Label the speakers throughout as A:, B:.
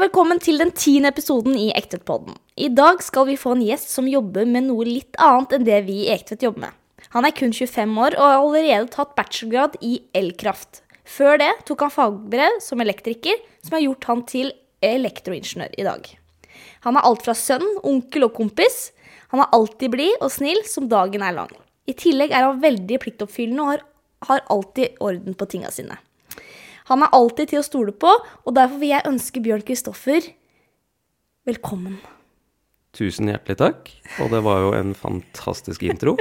A: velkommen til den tiende episoden i Ektvedtpodden. I dag skal vi få en gjest som jobber med noe litt annet enn det vi i Ektvedt jobber med. Han er kun 25 år og har allerede tatt bachelorgrad i elkraft. Før det tok han fagbrev som elektriker, som har gjort han til elektroingeniør i dag. Han er alt fra sønn, onkel og kompis. Han er alltid blid og snill som dagen er lang. I tillegg er han veldig pliktoppfyllende og har, har alltid orden på tinga sine. Han er alltid til å stole på, og derfor vil jeg ønske Bjørn Kristoffer velkommen.
B: Tusen hjertelig takk. Og det var jo en fantastisk intro.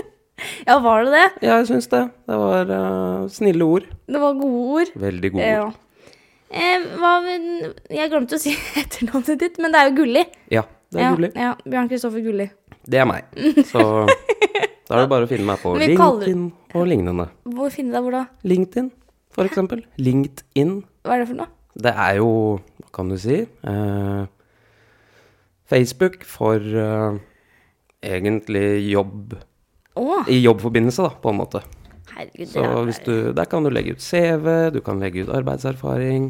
A: Ja, var det det?
B: Jeg syns det. Det var eh, snille ord.
A: Det var gode ord.
B: Veldig gode
A: Ja.
B: ord.
A: Eh, hva, vil- jeg glemte å si etternavnet ditt, men det er jo Gulli.
B: Ja, det er
A: ja,
B: gullig.
A: Ja, Bjørn Kristoffer Gulli.
B: Det er meg. Så da er det bare å finne meg på
A: Men vi kaller-
B: LinkedIn og lignende.
A: Hvor finner jeg deg hvor da?
B: LinkedIn, for eksempel. LinkedIn.
A: Hva er det for noe?
B: Det er jo, hva kan du si eh, Facebook for eh, egentlig jobb
A: Å,
B: I jobbforbindelse, da, på en måte.
A: herregud.
B: Så hvis
A: det er,
B: du, der kan du legge ut CV, du kan legge ut arbeidserfaring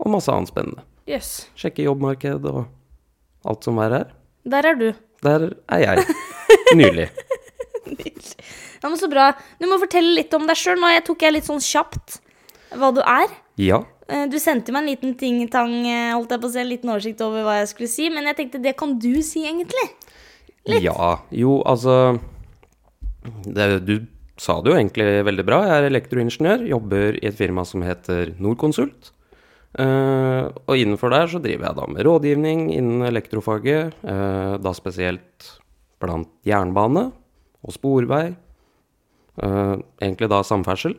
B: og masse annet spennende.
A: Jøss.
B: Sjekke jobbmarked og alt som er her.
A: Der er du.
B: Der er jeg nylig.
A: Ja, men Så bra. Du må fortelle litt om deg sjøl. Nå jeg tok jeg litt sånn kjapt hva du er.
B: Ja,
A: Eh, Du sendte meg en liten ting-tang, eh, holdt jeg på å si, en liten oversikt over hva jeg skulle si, men jeg tenkte det kan du si, egentlig.
B: Ja. Jo, altså det, Du sa det jo egentlig veldig bra. Jeg er elektroingeniør, jobber i et firma som heter Norconsult. Eh, og innenfor der så driver jeg da med rådgivning innen elektrofaget. eh, da spesielt blant jernbane og sporvei. eh, egentlig da samferdsel.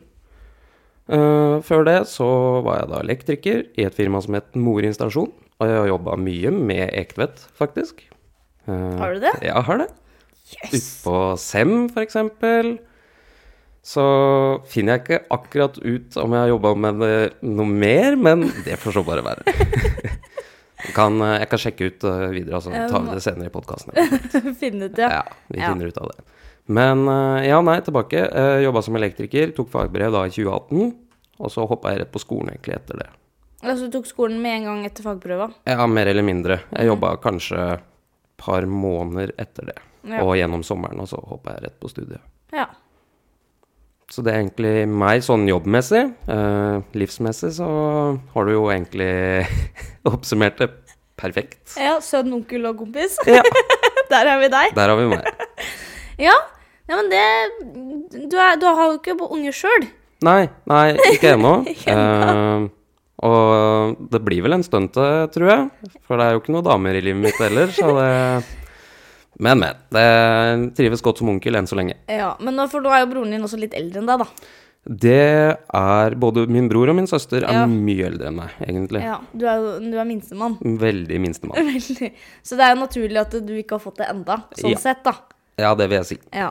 B: Eh, før det så var jeg da elektriker i et firma som het Mor installasjon. Og jeg har jobba mye med Ektvedt, faktisk. Eh,
A: Har du det?
B: Ja, jeg har det. Utpå SEM, for eksempel. Så finner jeg ikke akkurat ut om jeg har jobba med det noe mer, men det får så bare være. Jeg Kan, eh, jeg kan sjekke ut eh, videre, og så tar vi det senere i podkasten.
A: Finne ut, ja.
B: Ja, vi
A: Ja.
B: finner ut av det. Men eh, ja, nei, tilbake. Uh, jobba som elektriker, tok fagbrev da i 2018. Og så hoppa jeg rett på skolen egentlig etter det.
A: Altså, du tok skolen med en gang etter fagprøva.
B: Ja, mer eller mindre. Jeg
A: Mhm.
B: jobba kanskje et par måneder etter det.
A: Ja.
B: Og gjennom sommeren, og så hoppa jeg rett på studiet.
A: Ja.
B: Så det er egentlig meg sånn jobbmessig. Eh, livsmessig så har du jo egentlig oppsummert det perfekt.
A: ja. Sønn, onkel og kompis.
B: Ja,
A: Der har vi deg.
B: der har vi meg.
A: Ja. ja, men det Du, er, du har jo ikke unge sjøl.
B: Nei, nei, ikke ennå. Eh, og det blir vel en stund til, tror jeg. For det er jo ikke noen damer i livet mitt heller, så det Men, men. Det trives godt som onkel enn så lenge.
A: Ja, men nå, for nå er jo broren din også litt eldre enn deg, da.
B: Det er Både min bror og min søster er
A: Ja.
B: mye eldre enn meg, egentlig.
A: Ja, Du er, jo- du er minstemann.
B: Veldig minstemann.
A: Veldig. Så det er jo naturlig at du ikke har fått det enda, sånn
B: Ja.
A: sett, da.
B: Ja, det vil jeg si.
A: Ja.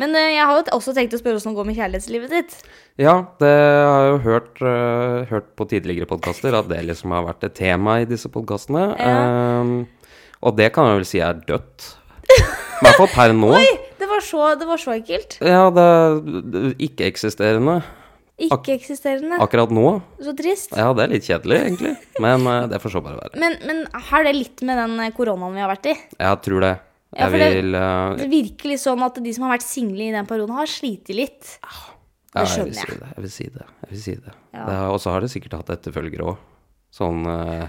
A: Men eh, jeg har jo også tenkt å spørre hvordan det går med kjærlighetslivet ditt.
B: Ja, det har jeg jo hørt, øh, hørt på tidligere podkaster, at det liksom har vært et tema i disse podkastene. Ehm, og det kan jeg vel si er dødt. I hvert fall per nå.
A: Det var så, det var så ekkelt.
B: Ja, det er ikke-eksisterende
A: Ikke-eksisterende.
B: akkurat nå.
A: Så trist.
B: Ja, det er litt kjedelig, egentlig. Men øh, det får så bare være.
A: Men, men har det litt med den eh, koronaen vi har vært i?
B: Jeg tror det.
A: Ja,
B: Jeg
A: for det-
B: vil øh,
A: Det virker litt sånn at de som har vært single i den perioden, har slitt litt.
B: Ja,
A: Det skjønner
B: jeg.
A: jeg.
B: Vil si det. Jeg vil si det. Jeg vil si det.
A: Ja.
B: det har- og så har det sikkert hatt etterfølgere òg. Sånn eh,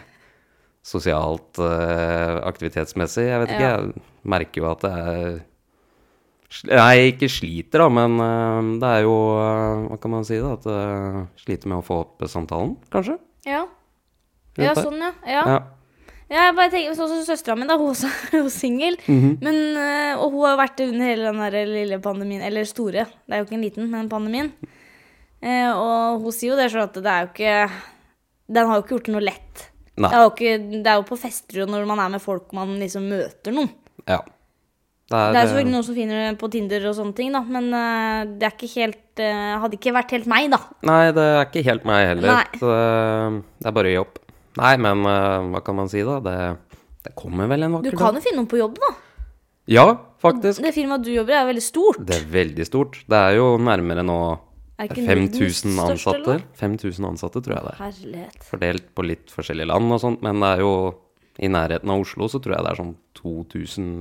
B: sosialt eh, aktivitetsmessig. Jeg vet ikke, jeg merker jo at det er sl- Nei, ikke sliter, da, men eh, det er jo eh, Hva kan man si, da? At eh, sliter med å få opp samtalen, kanskje?
A: Ja.
B: Rundt
A: Ja,
B: der.
A: sånn, ja. ja.
B: Ja.
A: Ja, jeg bare tenker, sånn som Søstera mi da, hun også er jo singel. Men, eh, Og hun har vært det under hele den der lille pandemien, eller store, det er jo ikke en liten, men pandemien. Eh, og hun sier jo det sånn at det er jo ikke Den har jo ikke gjort det noe lett.
B: Nei.
A: Det er jo, ikke, det er jo på fester og når man er med folk man liksom møter noen.
B: ja. Det er, eh,
A: Det er jo selvfølgelig noen som finner det på Tinder og sånne ting, da, men eh, det er ikke helt eh, Hadde ikke vært helt meg, da.
B: Nei, det er ikke helt meg heller.
A: Nei.
B: Så det, det er bare å gi opp. Nei, men eh, hva kan man si, da? Det, det kommer vel en
A: Du
B: vakker dag.
A: kan jo finne noen på jobb, da.
B: Ja, faktisk.
A: Det firmaet du jobber i, er jo veldig stort.
B: Det er veldig stort. Det er jo nærmere nå
A: Er Er ikke Nordens
B: 5000
A: største,
B: ansatte.
A: eller?
B: 5000 ansatte, tror jeg det er.
A: Herlighet.
B: Fordelt på litt forskjellige land og sånt, men det er jo I nærheten av Oslo så tror jeg det er sånn 2000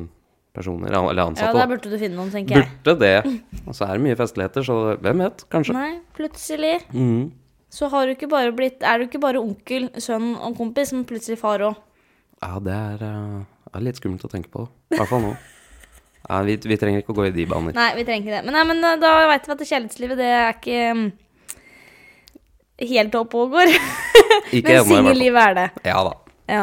B: personer, an- eller
A: Ja,
B: ansatte.
A: der
B: da.
A: burde du finne noen, tenker jeg.
B: Burde det. Og så er det mye festligheter, så hvem vet? Kanskje.
A: Nei, plutselig
B: Mm.
A: så har du ikke bare blitt Er du ikke bare onkel, sønn og kompis, men plutselig far òg.
B: Ja, det er, eh, det er litt skummelt å tenke på. I hvert fall nå. Ja, vi, vi trenger ikke å gå i de baner.
A: Nei, vi trenger ikke det. Men, nei, men eh, da veit vi at det kjærlighetslivet, det er ikke mm, helt opp og går. Men
B: Ikke ennå, i hvert fall.
A: singellivet er det.
B: Ja da.
A: Ja,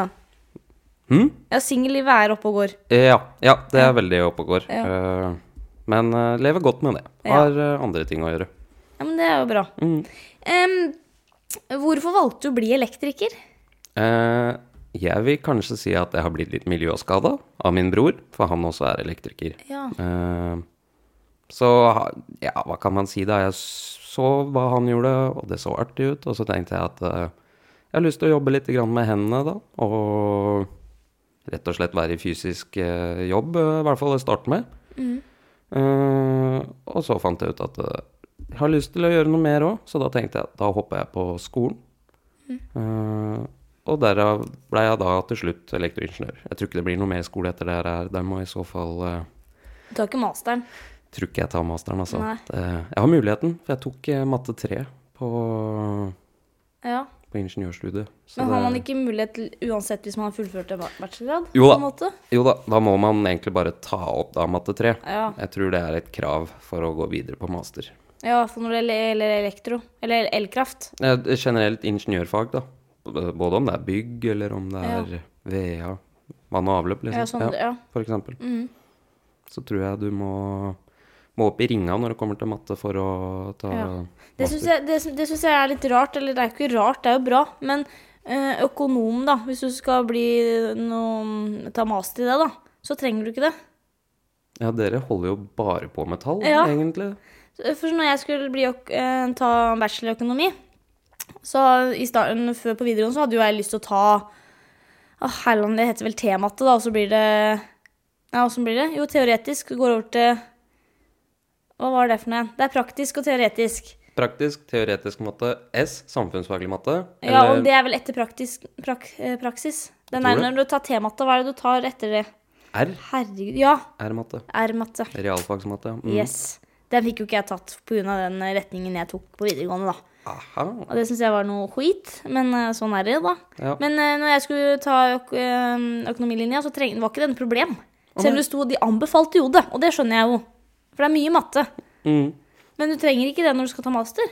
B: Hm?
A: ja singellivet er oppe og går.
B: Eh, Ja, ja, det er veldig oppe og går.
A: Ja.
B: Eh, Men eh, lever godt med det.
A: Ja.
B: Har eh, andre ting å gjøre.
A: Ja, men det er jo bra.
B: Mm.
A: Em, hvorfor valgte du å bli elektriker?
B: Eh, jeg vil kanskje si at jeg har blitt litt miljøskada av min bror, for han også er elektriker.
A: Ja.
B: Eh, så ha- ja, hva kan man si da? Jeg så hva han gjorde, og det så artig ut. Og så tenkte jeg at eh, jeg har lyst til å jobbe litt grann med hendene, da. Og rett og slett være i fysisk eh, jobb, eh, i hvert fall å starte med.
A: Mm.
B: Eh, og så fant jeg ut at eh, jeg har lyst til å gjøre noe mer òg, så da tenkte jeg at da hopper jeg på skolen.
A: Mm.
B: Eh, og derav ble jeg da til slutt elektroingeniør. Jeg tror ikke det blir noe mer skole etter det her. Der må jeg i så fall eh,
A: Du tar ikke masteren.
B: tror ikke jeg tar masteren, altså.
A: Nei.
B: Det- jeg har muligheten, for jeg tok eh, matte 3 på,
A: Ja.
B: på ingeniørstudiet. så
A: Men har
B: det-
A: man ikke mulighet til, uansett hvis man har fullført en ba- bachelorgrad?
B: Jo da.
A: På en måte?
B: Jo da, da må man egentlig bare ta opp da matte 3.
A: Ja.
B: Jeg tror det er et krav for å gå videre på master.
A: ja, i hvert fall når det gjelder gjelder elektro. Eller elkraft.
B: Eh, Generelt ingeniørfag, da. B- Både om det er bygg, eller om det er VEA, vann og avløp, liksom.
A: Ja, sånn, ja. Mm.
B: For eksempel. Så tror jeg du må, må opp i ringa når det kommer til matte for å ta
A: Ja. Det
B: master.
A: syns jeg, det, syns- det syns jeg er litt rart. Eller det er ikke rart, det er jo bra. Men eh, økonom, da. Hvis du skal bli noe, ta master i det, da. Så trenger du ikke det.
B: Ja, dere holder jo bare på med tall,
A: Ja.
B: egentlig.
A: For når jeg skulle bli, øk- eh, ta bachelor i økonomi, så i starten før på videregående så hadde jo jeg lyst til å ta Å, herland, det heter vel T-matte, da, og så blir det Ja, åssen blir det? Jo, teoretisk går over til Hva var det for noe? Det er praktisk og teoretisk.
B: Praktisk, teoretisk matte. S, samfunnsfaglig matte.
A: Ja, og det er vel etter praktisk, prak, eh, praksis. Den
B: Tror
A: er
B: du?
A: når du tar T-matte, hva er det du tar etter det?
B: R,
A: Herregud. Ja,
B: R-matte.
A: R-matte.
B: Realfagsmatte. Mm.
A: Yes. Den fikk jo ikke jeg tatt pga. den retningen jeg tok på videregående, da.
B: Aha.
A: Og det syns jeg var noe skit, men eh, sånn er det, da.
B: Ja.
A: Men eh, når jeg skulle ta øk eh, økonomilinja, så treng var ikke det noe problem. Selv om det sto De anbefalte jo det, og det skjønner jeg jo. For det er mye matte.
B: Mm.
A: Men du trenger ikke det når du skal ta master.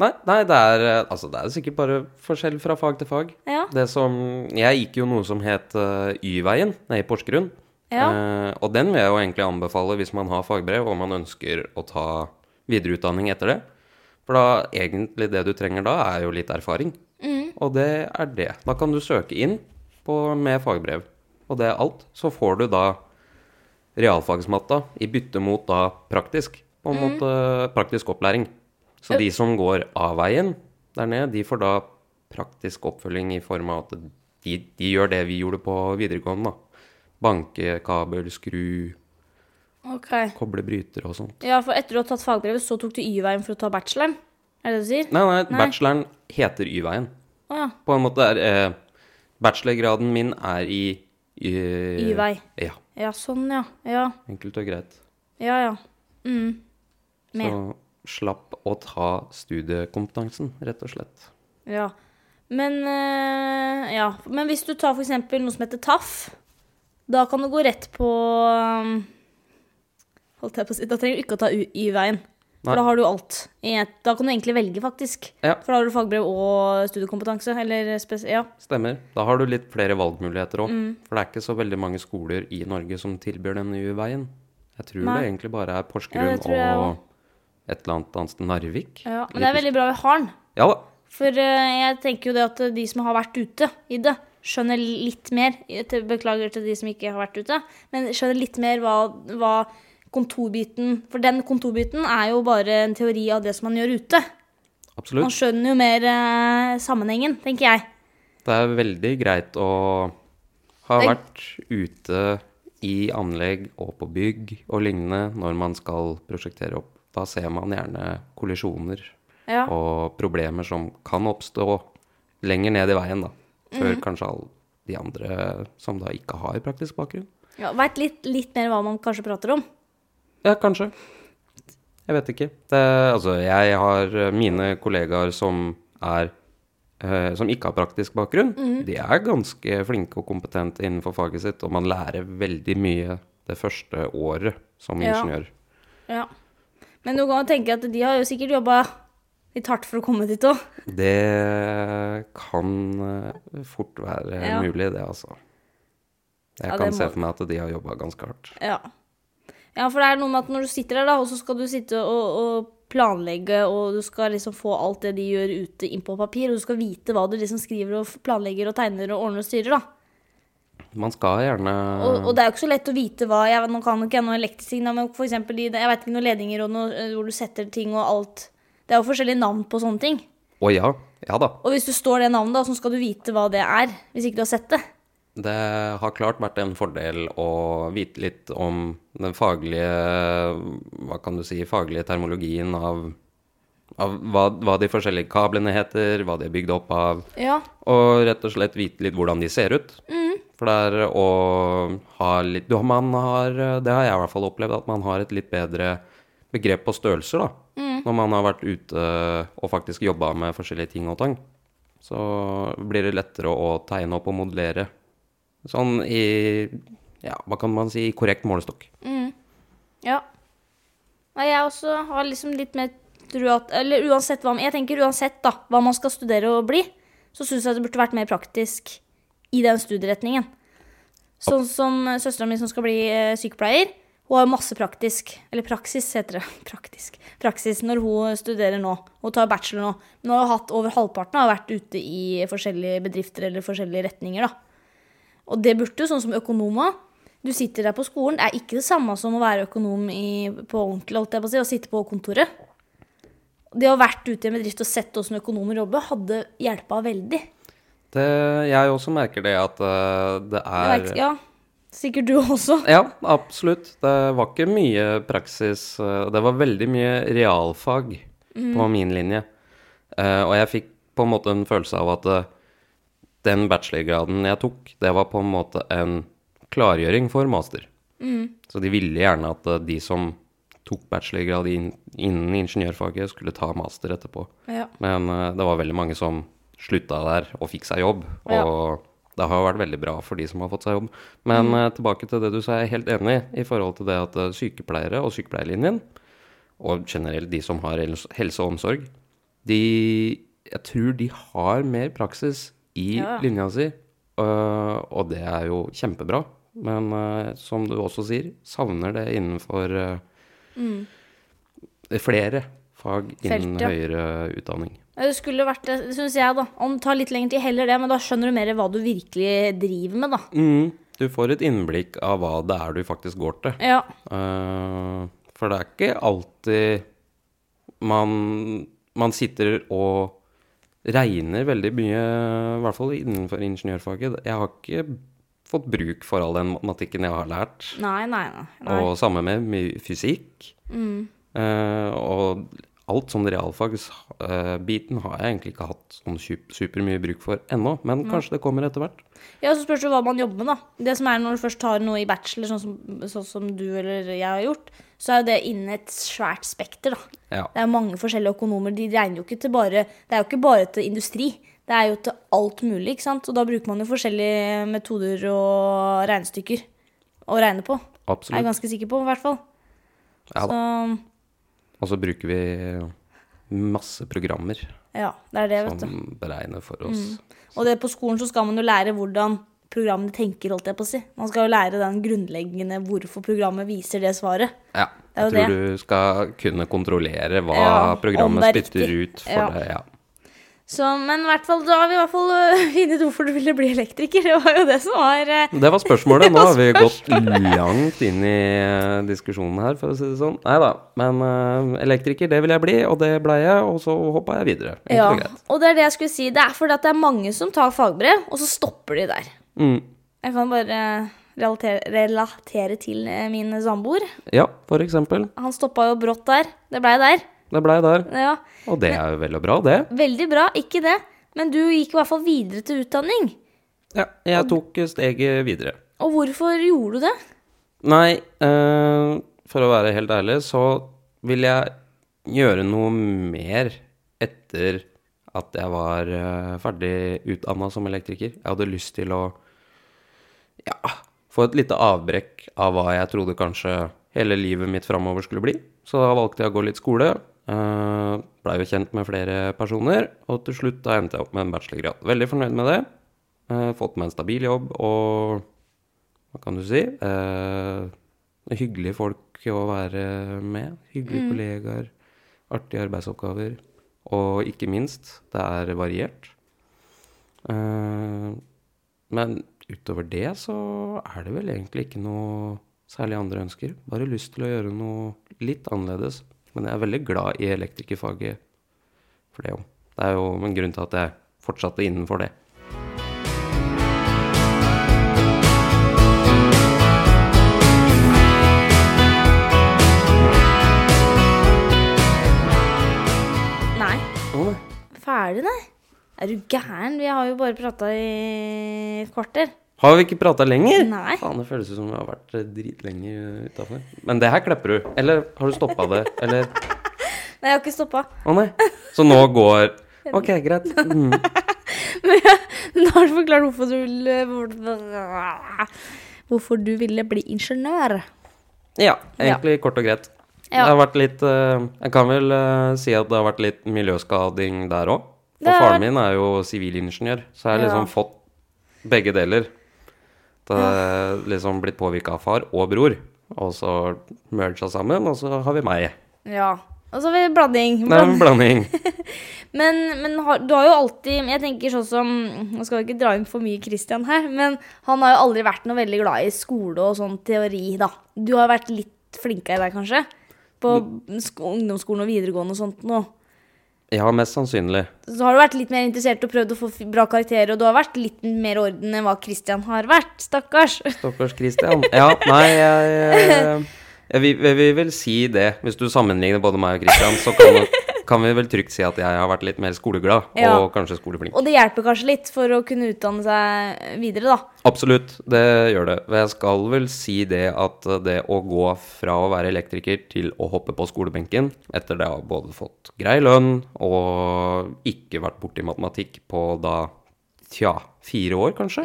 B: Nei, nei det, er, eh, altså, det er sikkert bare forskjell fra fag til fag.
A: Ja.
B: Det som, jeg gikk jo noe som het eh, Y-veien nede i Porsgrunn. Eh, og den vil jeg jo egentlig anbefale hvis man har fagbrev og man ønsker å ta videreutdanning etter det. For da egentlig det du trenger da, er jo litt erfaring. Og det er det. Da kan du søke inn på, med fagbrev, og det er alt. Så får du da realfagsmatta i bytte mot da praktisk, på en
A: Mm.
B: måte praktisk opplæring. Så de som går A-veien der nede, de får da praktisk oppfølging i form av at de, de gjør det vi gjorde på videregående, da. Banke, kabel, skru,
A: Ok.
B: koble brytere og sånt.
A: Ja, for etter du har tatt fagbrevet, så tok du Y-veien for å ta bacheloren? Er det det du sier?
B: Nei, nei,
A: Nei.
B: bacheloren heter Y-veien.
A: Å ja.
B: På en måte er eh, Bachelorgraden min er i eh,
A: Y-vei.
B: Ja,
A: Ja, sånn, ja. Ja,
B: enkelt og greit.
A: ja. ja. Mm. Med.
B: Så slapp å ta studiekompetansen, rett og slett.
A: Ja. Men, eh, ja. Men hvis du tar for eksempel noe som heter TAF, da kan du gå rett på um, Holdt jeg på å si Da trenger du ikke å ta U- Y-veien.
B: Nei.
A: For da har du alt. i et- Da kan du egentlig velge, faktisk.
B: Ja.
A: For da har du fagbrev og studiekompetanse. Eller spes... Ja.
B: Stemmer. Da har du litt flere valgmuligheter òg.
A: Mm.
B: For det er ikke så veldig mange skoler i Norge som tilbyr den nye veien. Jeg tror
A: Nei.
B: det egentlig bare er
A: Ja,
B: Porsgrunn
A: det tror jeg
B: og et eller annet annet sted, Narvik.
A: ja. Men det er veldig bra vi har den.
B: Ja da.
A: For eh, jeg tenker jo det at de som har vært ute i det, skjønner litt mer Jeg te- Beklager til de som ikke har vært ute, men skjønner litt mer hva, hva kontorbiten For den kontorbiten er jo bare en teori av det som man gjør ute. Man
B: Absolutt.
A: skjønner jo mer eh, sammenhengen, tenker jeg.
B: Det er veldig greit å ha
A: Det-
B: vært ute i anlegg og på bygg og lignende når man skal prosjektere opp Da ser man gjerne kollisjoner
A: Ja.
B: og problemer som kan oppstå lenger ned i veien, da. Før
A: Mhm.
B: kanskje alle de andre som da ikke har praktisk bakgrunn.
A: Ja, Veit litt, litt mer hva man kanskje prater om.
B: Ja, kanskje. Jeg vet ikke. Det, altså, jeg har eh, mine kollegaer som er eh, som ikke har praktisk bakgrunn.
A: Mhm.
B: De er ganske flinke og kompetente innenfor faget sitt, og man lærer veldig mye det første året som
A: Ja.
B: ingeniør.
A: Ja. Men du kan jo tenke at de har jo sikkert jobba litt hardt for å komme dit òg.
B: Det kan eh, fort være
A: Ja.
B: mulig, det, altså. Jeg
A: Ja, det
B: kan se
A: må-
B: for meg at de har jobba ganske hardt.
A: Ja. ja, for det er noe med at når du sitter der, da, og så skal du sitte og, og planlegge, og du skal liksom få alt det de gjør ute inn på papir, og du skal vite hva du liksom skriver og planlegger og tegner og ordner og styrer, da.
B: Man skal gjerne
A: Og,
B: Mm.
A: og det er jo ikke så lett å vite hva jeg, Nå kan jo ikke jeg noe elektrisk, men for eksempel de, jeg vet ikke noen ledninger og noe, eh, hvor du setter ting og alt. Det er jo forskjellige navn på sånne ting.
B: Å ja. Ja da.
A: Og hvis du står det navnet, da, så skal du vite hva det er. Hvis ikke du har sett det.
B: Det har klart vært en fordel å vite litt om den faglige Hva kan du si faglige termologien av, av hva, hva de forskjellige kablene heter, hva de er bygd opp av,
A: Ja.
B: og rett og slett vite litt hvordan de ser ut. For det er å ha litt du, man har, Det har jeg i hvert fall opplevd, at man har et litt bedre begrep på størrelser, da. Når man har vært ute og faktisk jobba med forskjellige ting og tang. Så blir det lettere å tegne opp og modellere. Sånn i Ja, hva kan man si? i Korrekt målestokk.
A: Ja. Nei, jeg også har liksom litt mer trua at Eller uansett hva Jeg tenker uansett da, hva man skal studere og bli, så syns jeg det burde vært mer praktisk i den studieretningen. Sånn som søstera mi som skal bli eh, sykepleier. Hun har masse praktisk, eller praksis heter det. Praktisk. Praksis når hun studerer nå, og tar bachelor nå. Men hun har hatt over halvparten har vært ute i forskjellige bedrifter eller forskjellige retninger, da. Og det burde jo, sånn som økonomer Du sitter der på skolen, det er ikke det samme som å være økonom i, på ordentlig, holdt jeg på å si, og sitte på kontoret. Det å ha vært ute i en bedrift og sett åssen økonomer jobber, hadde hjelpa veldig.
B: Det, jeg også merker det at eh, det
A: Det
B: er
A: var ikke- Ja, sikkert du også.
B: Ja, absolutt. Det var ikke mye praksis. eh, Det var veldig mye realfag på min linje. Eh, og jeg fikk på en måte en følelse av at eh, den bachelorgraden jeg tok, det var på en måte en klargjøring for master. Så de ville gjerne at eh, de som tok bachelorgrad inn, innen ingeniørfaget, skulle ta master etterpå.
A: Ja.
B: Men eh, det var veldig mange som slutta der og fikk seg jobb, og det har jo vært veldig bra for de som har fått seg jobb. Men eh, tilbake til det du sa, jeg er helt enig i, i forhold til det at eh, sykepleiere og sykepleierlinjen, og generelt de som har hels- helse og omsorg, de Jeg tror de har mer praksis i
A: Ja, ja.
B: linja si, øh, og det er jo kjempebra. Men eh, som du også sier, savner det innenfor eh, flere fag innen
A: Felt, ja.
B: høyere utdanning.
A: Ja, Det skulle vært det, det syns jeg, da. Om det tar litt lengre tid, heller det, men da skjønner du mer hva du virkelig driver med, da.
B: Mm, du får et innblikk av hva det er du faktisk går til.
A: Ja.
B: Eh, for det er ikke alltid man, man sitter og regner veldig mye, i hvert fall innenfor ingeniørfaget. Jeg har ikke fått bruk for all den matematikken jeg har lært.
A: Nei, nei, nei. nei.
B: Og samme med mye fysikk. Eh, og alt sånn realfagsbiten har jeg egentlig ikke hatt sånn sup- supermye bruk for ennå, men kanskje det kommer etter hvert.
A: Ja, så spørs det hva man jobber med, da. Det som er når du først tar noe i bachelor, sånn som, sånn som du eller jeg har gjort, så er jo det innen et svært spekter, da.
B: Ja.
A: Det er mange forskjellige økonomer. De regner jo ikke til bare Det er jo ikke bare til industri. Det er jo til alt mulig, ikke sant. Og da bruker man jo forskjellige metoder og regnestykker å regne på. Er jeg
B: Absolutt.
A: ganske sikker på, i hvert fall.
B: Ja da.
A: Så
B: Og så bruker vi masse programmer
A: ja, det er det, Mm. vet du.
B: som beregner for oss.
A: Og det på skolen så skal man jo lære hvordan programmene tenker, holdt jeg på å si. Man skal jo lære den grunnleggende hvorfor programmet viser det svaret.
B: Ja.
A: Det er
B: Jeg
A: jo
B: tror du skal kunne kontrollere hva
A: Ja, om
B: programmet
A: det er
B: spytter
A: riktig.
B: ut for
A: Ja.
B: deg. Ja.
A: Så, men i hvert fall, da har vi i hvert fall øh, funnet ut hvorfor du ville bli elektriker. Det var jo det som var øh,
B: Det var spørsmålet.
A: Det
B: Nå har
A: var
B: vi gått langt inn i eh, diskusjonen her, for å si det sånn. Nei da, men eh, elektriker, det vil jeg bli, og det ble jeg, og så hoppa jeg videre. Enkelt
A: ja.
B: og greit.
A: Og det er det jeg skulle si. Det er fordi at det er mange som tar fagbrev, og så stopper de der.
B: Mm.
A: Jeg kan bare øh, relatere, relatere til eh, min samboer.
B: Ja, for eksempel.
A: Han stoppa jo brått der. Det blei der.
B: Det blei der.
A: Ja.
B: Og det er jo vel og bra, det.
A: Veldig bra, ikke det. Men du gikk i hvert fall videre til utdanning.
B: Ja, jeg tok steget videre.
A: Og hvorfor gjorde du det?
B: Nei, eh, for å være helt ærlig, så vil jeg gjøre noe mer etter at jeg var eh, ferdig utdanna som elektriker. Jeg hadde lyst til å ja, få et lite avbrekk av hva jeg trodde kanskje hele livet mitt framover skulle bli. Så da valgte jeg å gå litt skole. eh, Blei jo kjent med flere personer, og til slutt da endte jeg opp med en bachelorgrad. Veldig fornøyd med det. eh, Fått meg en stabil jobb og hva kan du si? Eh, hyggelige folk å være med. Hyggelige kollegaer. Artige arbeidsoppgaver. Og ikke minst, det er variert. Eh, men utover det så er det vel egentlig ikke noe særlig andre ønsker. Bare lyst til å gjøre noe litt annerledes. Men jeg er veldig glad i elektrikerfaget for det òg. Det er jo en grunn til at jeg fortsatte innenfor det.
A: Nei.
B: Å,
A: Ferdig, nei. Er du gæren? Vi har jo bare prata i et kvarter.
B: Har vi ikke prata lenger?
A: Nei.
B: Faen, det føles som vi har vært eh, dritlenge utafor. Men det her klipper du. Eller har du stoppa det? Eller
A: Nei, jeg har ikke stoppa.
B: Å nei. Så nå går Ok, greit. Mm.
A: Nå har du forklart hvorfor du ville Hvorfor du ville bli ingeniør.
B: Ja, egentlig kort og greit.
A: Ja.
B: Det har vært litt eh, Jeg kan vel eh, si at det har vært litt miljøskading der òg. For
A: Det har vært-
B: faren min er jo sivilingeniør, så jeg har liksom fått begge deler. Det er liksom blitt påvirka av far og bror, og så merga sammen, og så har vi meg.
A: Ja. Og så har vi blanding.
B: Det er en blanding.
A: Men, men har, du har jo alltid Jeg tenker sånn som Nå skal vi ikke dra inn for mye Christian her, men han har jo aldri vært noe veldig glad i skole og sånn teori, da. Du har vært litt flinkere der, kanskje? På sk ungdomsskolen og videregående og sånt noe.
B: Ja, mest sannsynlig.
A: Så har du vært litt mer interessert og prøvd å få fi- bra karakterer, og du har vært litt mer orden enn hva Christian har vært. Stakkars.
B: Stakkars Christian. Ja, nei, jeg, jeg, jeg, vil- jeg vil vel si det. Hvis du sammenligner både meg og Christian, så kan, kan vi vel trygt si at jeg har vært litt mer skoleglad,
A: Ja.
B: og kanskje skoleflink.
A: Og det hjelper kanskje litt for å kunne utdanne seg videre, da.
B: Absolutt, det gjør det. Jeg skal vel si det at eh, det å gå fra å være elektriker til å hoppe på skolebenken, etter det å ha både fått grei lønn og ikke vært borti matematikk på da, tja, fire år kanskje?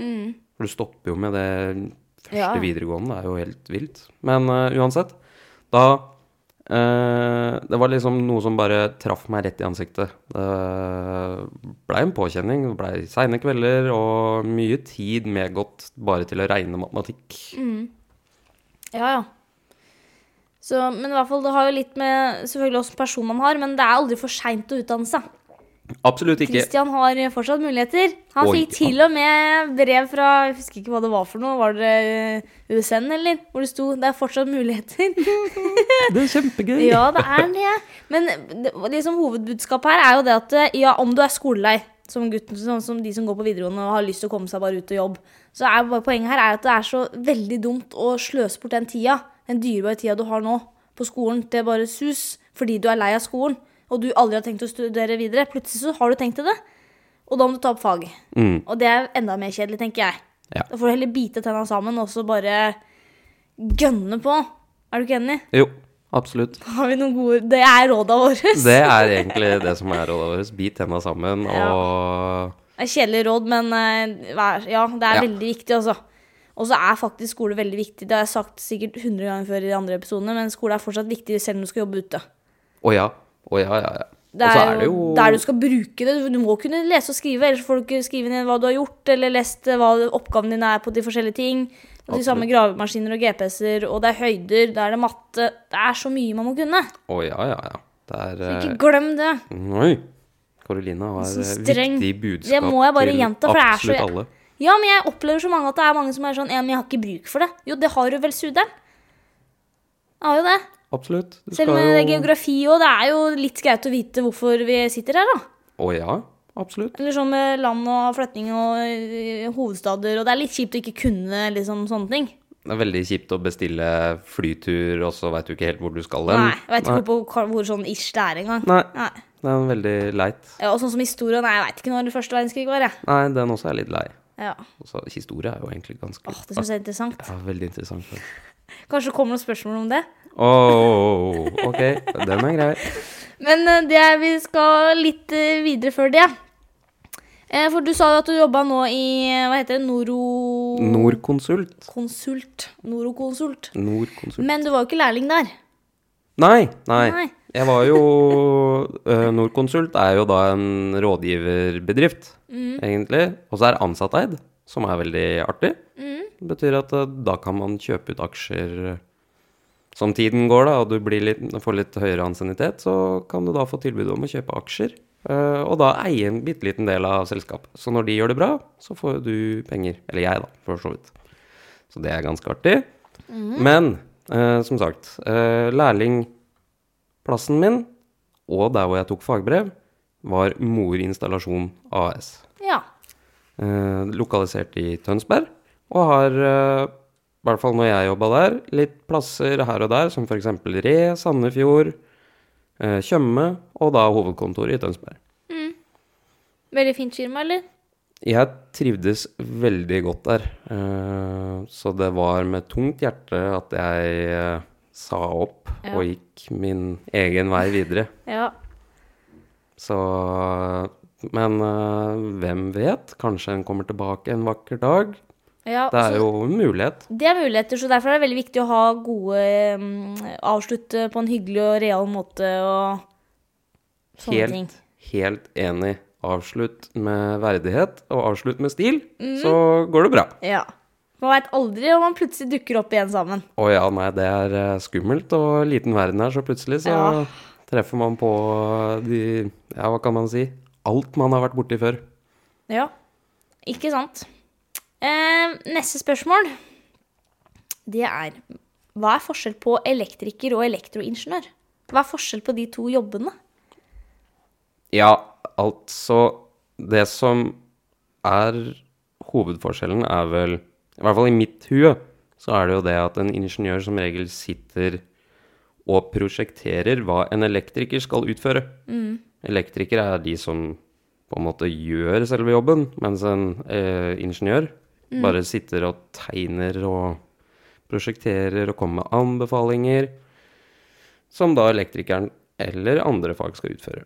B: For du stopper jo med det
A: Mm. Ja.
B: første videregående, det er jo helt vilt. Men eh, uansett, da eh, Det var liksom noe som bare traff meg rett i ansiktet. Det blei en påkjenning. Det blei seine kvelder og mye tid medgått bare til å regne matematikk.
A: Mm. Ja, ja. Så, men i hvert fall, det har jo litt med selvfølgelig åssen person man har, men det er aldri for seint å utdanne seg.
B: Absolutt ikke.
A: Christian har fortsatt muligheter. Han
B: Oi,
A: fikk til og med brev fra Jeg husker ikke hva det var for noe. Var det eh, USN, eller? Hvor det sto 'Det er fortsatt muligheter'.
B: Det er kjempegøy.
A: ja, det er det. Men det, liksom, hovedbudskapet her er jo det at eh, ja, om du er skolelei, som gutten, sånn som de som går på videregående og har lyst til å komme seg bare ut og jobbe, så er bare poenget her er at det er så veldig dumt å sløse bort den tida, den dyrebare tida du har nå på skolen, til bare sus, fordi du er lei av skolen, og du aldri har tenkt å studere videre. Plutselig så har du tenkt til det. Og da må du ta opp fag.
B: Mm.
A: Og det er enda mer kjedelig, tenker jeg.
B: Ja.
A: Da får du heller bite tenna sammen og så bare gønne på. Er du ikke enig?
B: Jo, absolutt.
A: Har vi noen gode Det er råda våre.
B: Det er egentlig det som er rådet vårt. Bit tenna sammen og
A: Det er kjedelig råd, men eh, vær- ja, det er
B: Ja.
A: veldig viktig, altså. Og så er faktisk skole veldig viktig. Det har jeg sagt sikkert 100 ganger før i de andre episodene, men skole er fortsatt viktig selv om du skal jobbe ute.
B: Å ja. Å ja, ja, ja. Og
A: Det
B: så
A: er, jo der du skal bruke det. Du må kunne lese og skrive, ellers får du ikke skrive ned hva du har gjort, eller lest eh, hva oppgaven din er på de forskjellige ting. Og de samme gravemaskiner og GPS-er, og det er høyder, det er det matte Det er så mye man må kunne.
B: Å ja, ja, ja. Det er eh,
A: Ikke glem det.
B: Nei. Carolina har
A: Så
B: eh,
A: streng.
B: viktig budskap
A: Det må jeg bare gjenta, for det er så-
B: absolutt alle.
A: Ja, men jeg opplever så mange at det er mange som er sånn Ja, men jeg har ikke bruk for det. Jo, det har du vel, Suderen? Jeg har jo det.
B: Absolutt. Du
A: Selv om
B: skal
A: det er
B: jo-
A: geografi òg, det er jo litt greit å vite hvorfor vi sitter her, da.
B: Å ja, absolutt.
A: Eller sånn eh, med land og flytting og øh, hovedstader, og det er litt kjipt å ikke kunne liksom sånne ting.
B: Det er veldig kjipt å bestille flytur, og så veit du ikke helt hvor du skal hen.
A: Nei, jeg vet ikke hvor, på- hvor sånn ish det er engang.
B: Nei. Det er veldig leit.
A: Ja, og sånn som historien, nei, jeg veit ikke når første verdenskrig var, jeg.
B: Nei, den også er litt lei.
A: Ja.
B: Altså, historie er jo egentlig ganske
A: Åh, det syns jeg er interessant.
B: ja, Veldig interessant.
A: Kanskje det kommer noen spørsmål om det.
B: Oh, ok, den er grei.
A: Men eh, det er- vi skal litt eh, videre før det. Eh, For du sa jo at du jobba nå i eh, hva heter det, Noro...
B: Norconsult.
A: Konsult. Norokonsult.
B: Norconsult.
A: Men du var jo ikke lærling der.
B: Nei, nei.
A: Nei.
B: Jeg var jo eh, Norconsult er jo da en rådgiverbedrift, egentlig. Og så er det ansatteid, som er veldig artig. Det betyr at eh, da kan man kjøpe ut aksjer eh, som tiden går, da, og du blir litt, får litt høyere ansiennitet, så kan du da få tilbud om å kjøpe aksjer. eh, og da eie en bitte liten del av selskapet. Så når de gjør det bra, så får jo du penger. Eller jeg, da, for så vidt. Så det er ganske artig. Men eh, som sagt, eh, lærlingplassen min, og der hvor jeg tok fagbrev, var Mor Installasjon AS.
A: Ja.
B: Eh, lokalisert i Tønsberg, og har, eh, i hvert fall når jeg jobba der, litt plasser her og der, som f.eks. Re, Sandefjord, eh, Tjøme, og da hovedkontoret i Tønsberg.
A: Veldig fint firma, eller?
B: Jeg trivdes veldig godt der. eh, Så det var med tungt hjerte at jeg eh, sa opp
A: Ja.
B: og gikk min egen vei videre.
A: Ja.
B: Så Men eh, hvem vet? Kanskje en kommer tilbake en vakker dag.
A: ja.
B: Det er jo en mulighet.
A: Det er muligheter, så derfor er det veldig viktig å ha gode mm, Avslutte på en hyggelig og real måte og sånne ting.
B: Helt, helt enig. Avslutt med verdighet, og avslutt med stil, så går det bra.
A: Ja. Man veit aldri om man plutselig dukker opp igjen sammen.
B: Å ja, nei, det er eh, skummelt og liten verden her, så plutselig så
A: Ja.
B: treffer man på de Ja, hva kan man si? Alt man har vært borti før.
A: Ja. Ikke sant. Eh, neste spørsmål, det er Hva er forskjell på elektriker og elektroingeniør? Hva er forskjell på de to jobbene?
B: Ja, altså Det som er hovedforskjellen, er vel I hvert fall i mitt hue, så er det jo det at en ingeniør som regel sitter og prosjekterer hva en elektriker skal utføre. Elektrikere er de som på en måte gjør selve jobben, mens en eh, ingeniør bare sitter og tegner og prosjekterer og kommer med anbefalinger, som da elektrikeren eller andre fag skal utføre.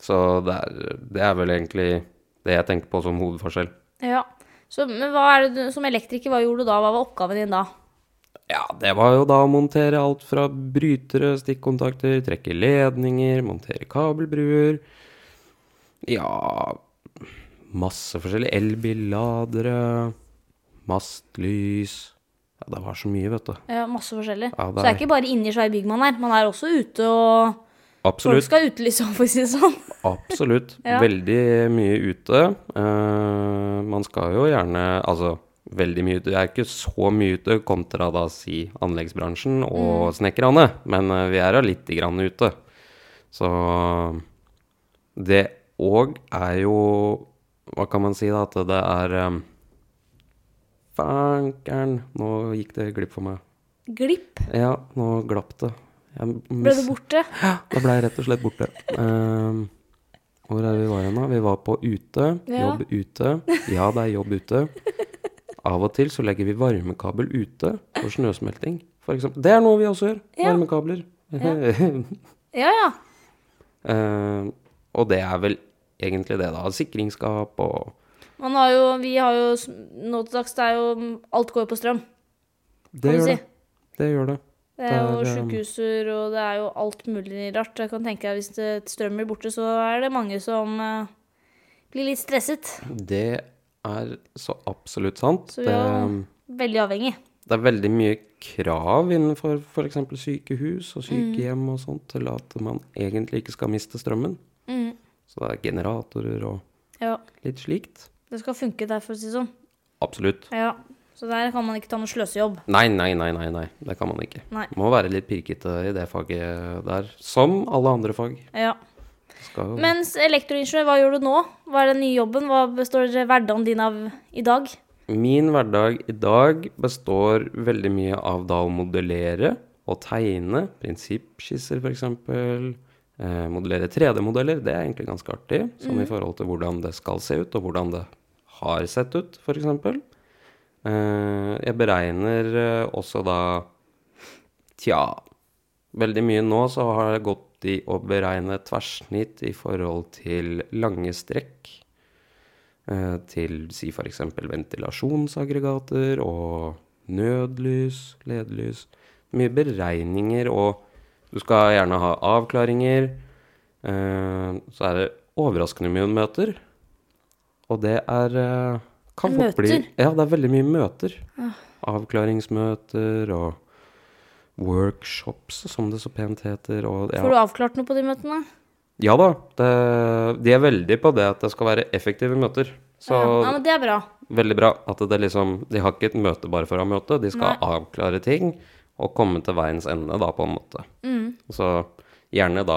B: Så det er, det er vel egentlig det jeg tenker på som hovedforskjell.
A: Ja. Så men hva er det du, som elektriker, hva gjorde du da? Hva var oppgaven din da?
B: Ja, det var jo da å montere alt fra brytere, stikkontakter, trekke ledninger, montere kabelbruer Ja Masse forskjellig. Elbilladere, mastlys Ja, det var så mye, vet du.
A: Ja, masse forskjellig.
B: Ja, det
A: Så det er
B: er-
A: ikke bare inni svær bygg man er, man er også ute og Folk
B: Absolutt.
A: skal utelyse, for å si det sånn.
B: Absolutt.
A: Ja.
B: Veldig mye ute. Eh, man skal jo gjerne Altså, veldig mye ute. Jeg er ikke så mye ute kontra da si anleggsbransjen og
A: Mm.
B: snekkerne, men eh, vi er da lite grann ute. Så det òg er jo Hva kan man si, da? At det er um, Fankeren, nå gikk det glipp for meg.
A: Glipp.
B: Ja, nå glapp det. Jeg
A: Ble du borte?
B: ja, da ble jeg rett og slett borte. Ehm, hvor er det vi var igjen da? Vi var på ute,
A: Ja.
B: jobb ute. Ja, det er jobb ute. Av og til så legger vi varmekabel ute for snøsmelting, for eksempel. Det er noe vi også gjør.
A: Ja.
B: Varmekabler.
A: Ja, ja.
B: Ehm, og det er vel egentlig det, da. Sikringsskap og
A: Man har jo, vi har jo s- nå til dags, det er jo Alt går jo på strøm.
B: Det
A: Kan du
B: gjør
A: si?
B: det. Det gjør det.
A: Det er jo
B: Der, eh,
A: sykehuser, og det er jo alt mulig rart. Jeg kan tenke deg Hvis det strøm blir borte, så er det mange som eh, blir litt stresset.
B: Det er så absolutt sant. Ehm,
A: Så vi er
B: Det-
A: veldig avhengig.
B: Det er veldig mye krav innenfor f.eks. sykehus og sykehjem og sånt til at man egentlig ikke skal miste strømmen.
A: Mm.
B: Så det er generatorer og
A: Ja,
B: litt slikt.
A: det skal funke der, for å si det sånn.
B: Absolutt.
A: Ja, Så der kan man ikke ta noe sløsejobb.
B: Nei, nei, nei, nei, nei. Det kan man ikke.
A: Nei.
B: Må være litt pirkete i det faget der. Som alle andre fag.
A: Ja.
B: Skal jo
A: Mens elektroingeniør, hva gjør du nå? Hva er den nye jobben? Hva består hverdagen din av i dag?
B: Min hverdag i dag består veldig mye av da å modellere og tegne. Prinsippskisser, f.eks. Eh, modellere 3D-modeller. Det er egentlig ganske artig. Sånn i forhold til hvordan det skal se ut, og hvordan det har sett ut, f.eks. Eh, jeg beregner eh, også da Tja. Veldig mye nå så har det gått i å beregne tverrsnitt i forhold til lange strekk. Eh, til si f.eks. ventilasjonsaggregater og nødlys, ledelys. Mye beregninger, og du skal gjerne ha avklaringer. Eh, så er det overraskende mye møter. Og det er eh, kan fort bli-
A: Møter?
B: Ja, det er veldig mye møter. Avklaringsmøter og workshops, som det så pent heter. Og, ja.
A: Får du avklart noe på de møtene?
B: Ja da, det, de er veldig på det at det skal være effektive møter. Så
A: ja, men det er bra.
B: veldig bra at det liksom De har ikke et møte bare for å ha møte, de skal avklare ting og komme til veiens ende, da, på en måte.
A: Mm.
B: Så gjerne da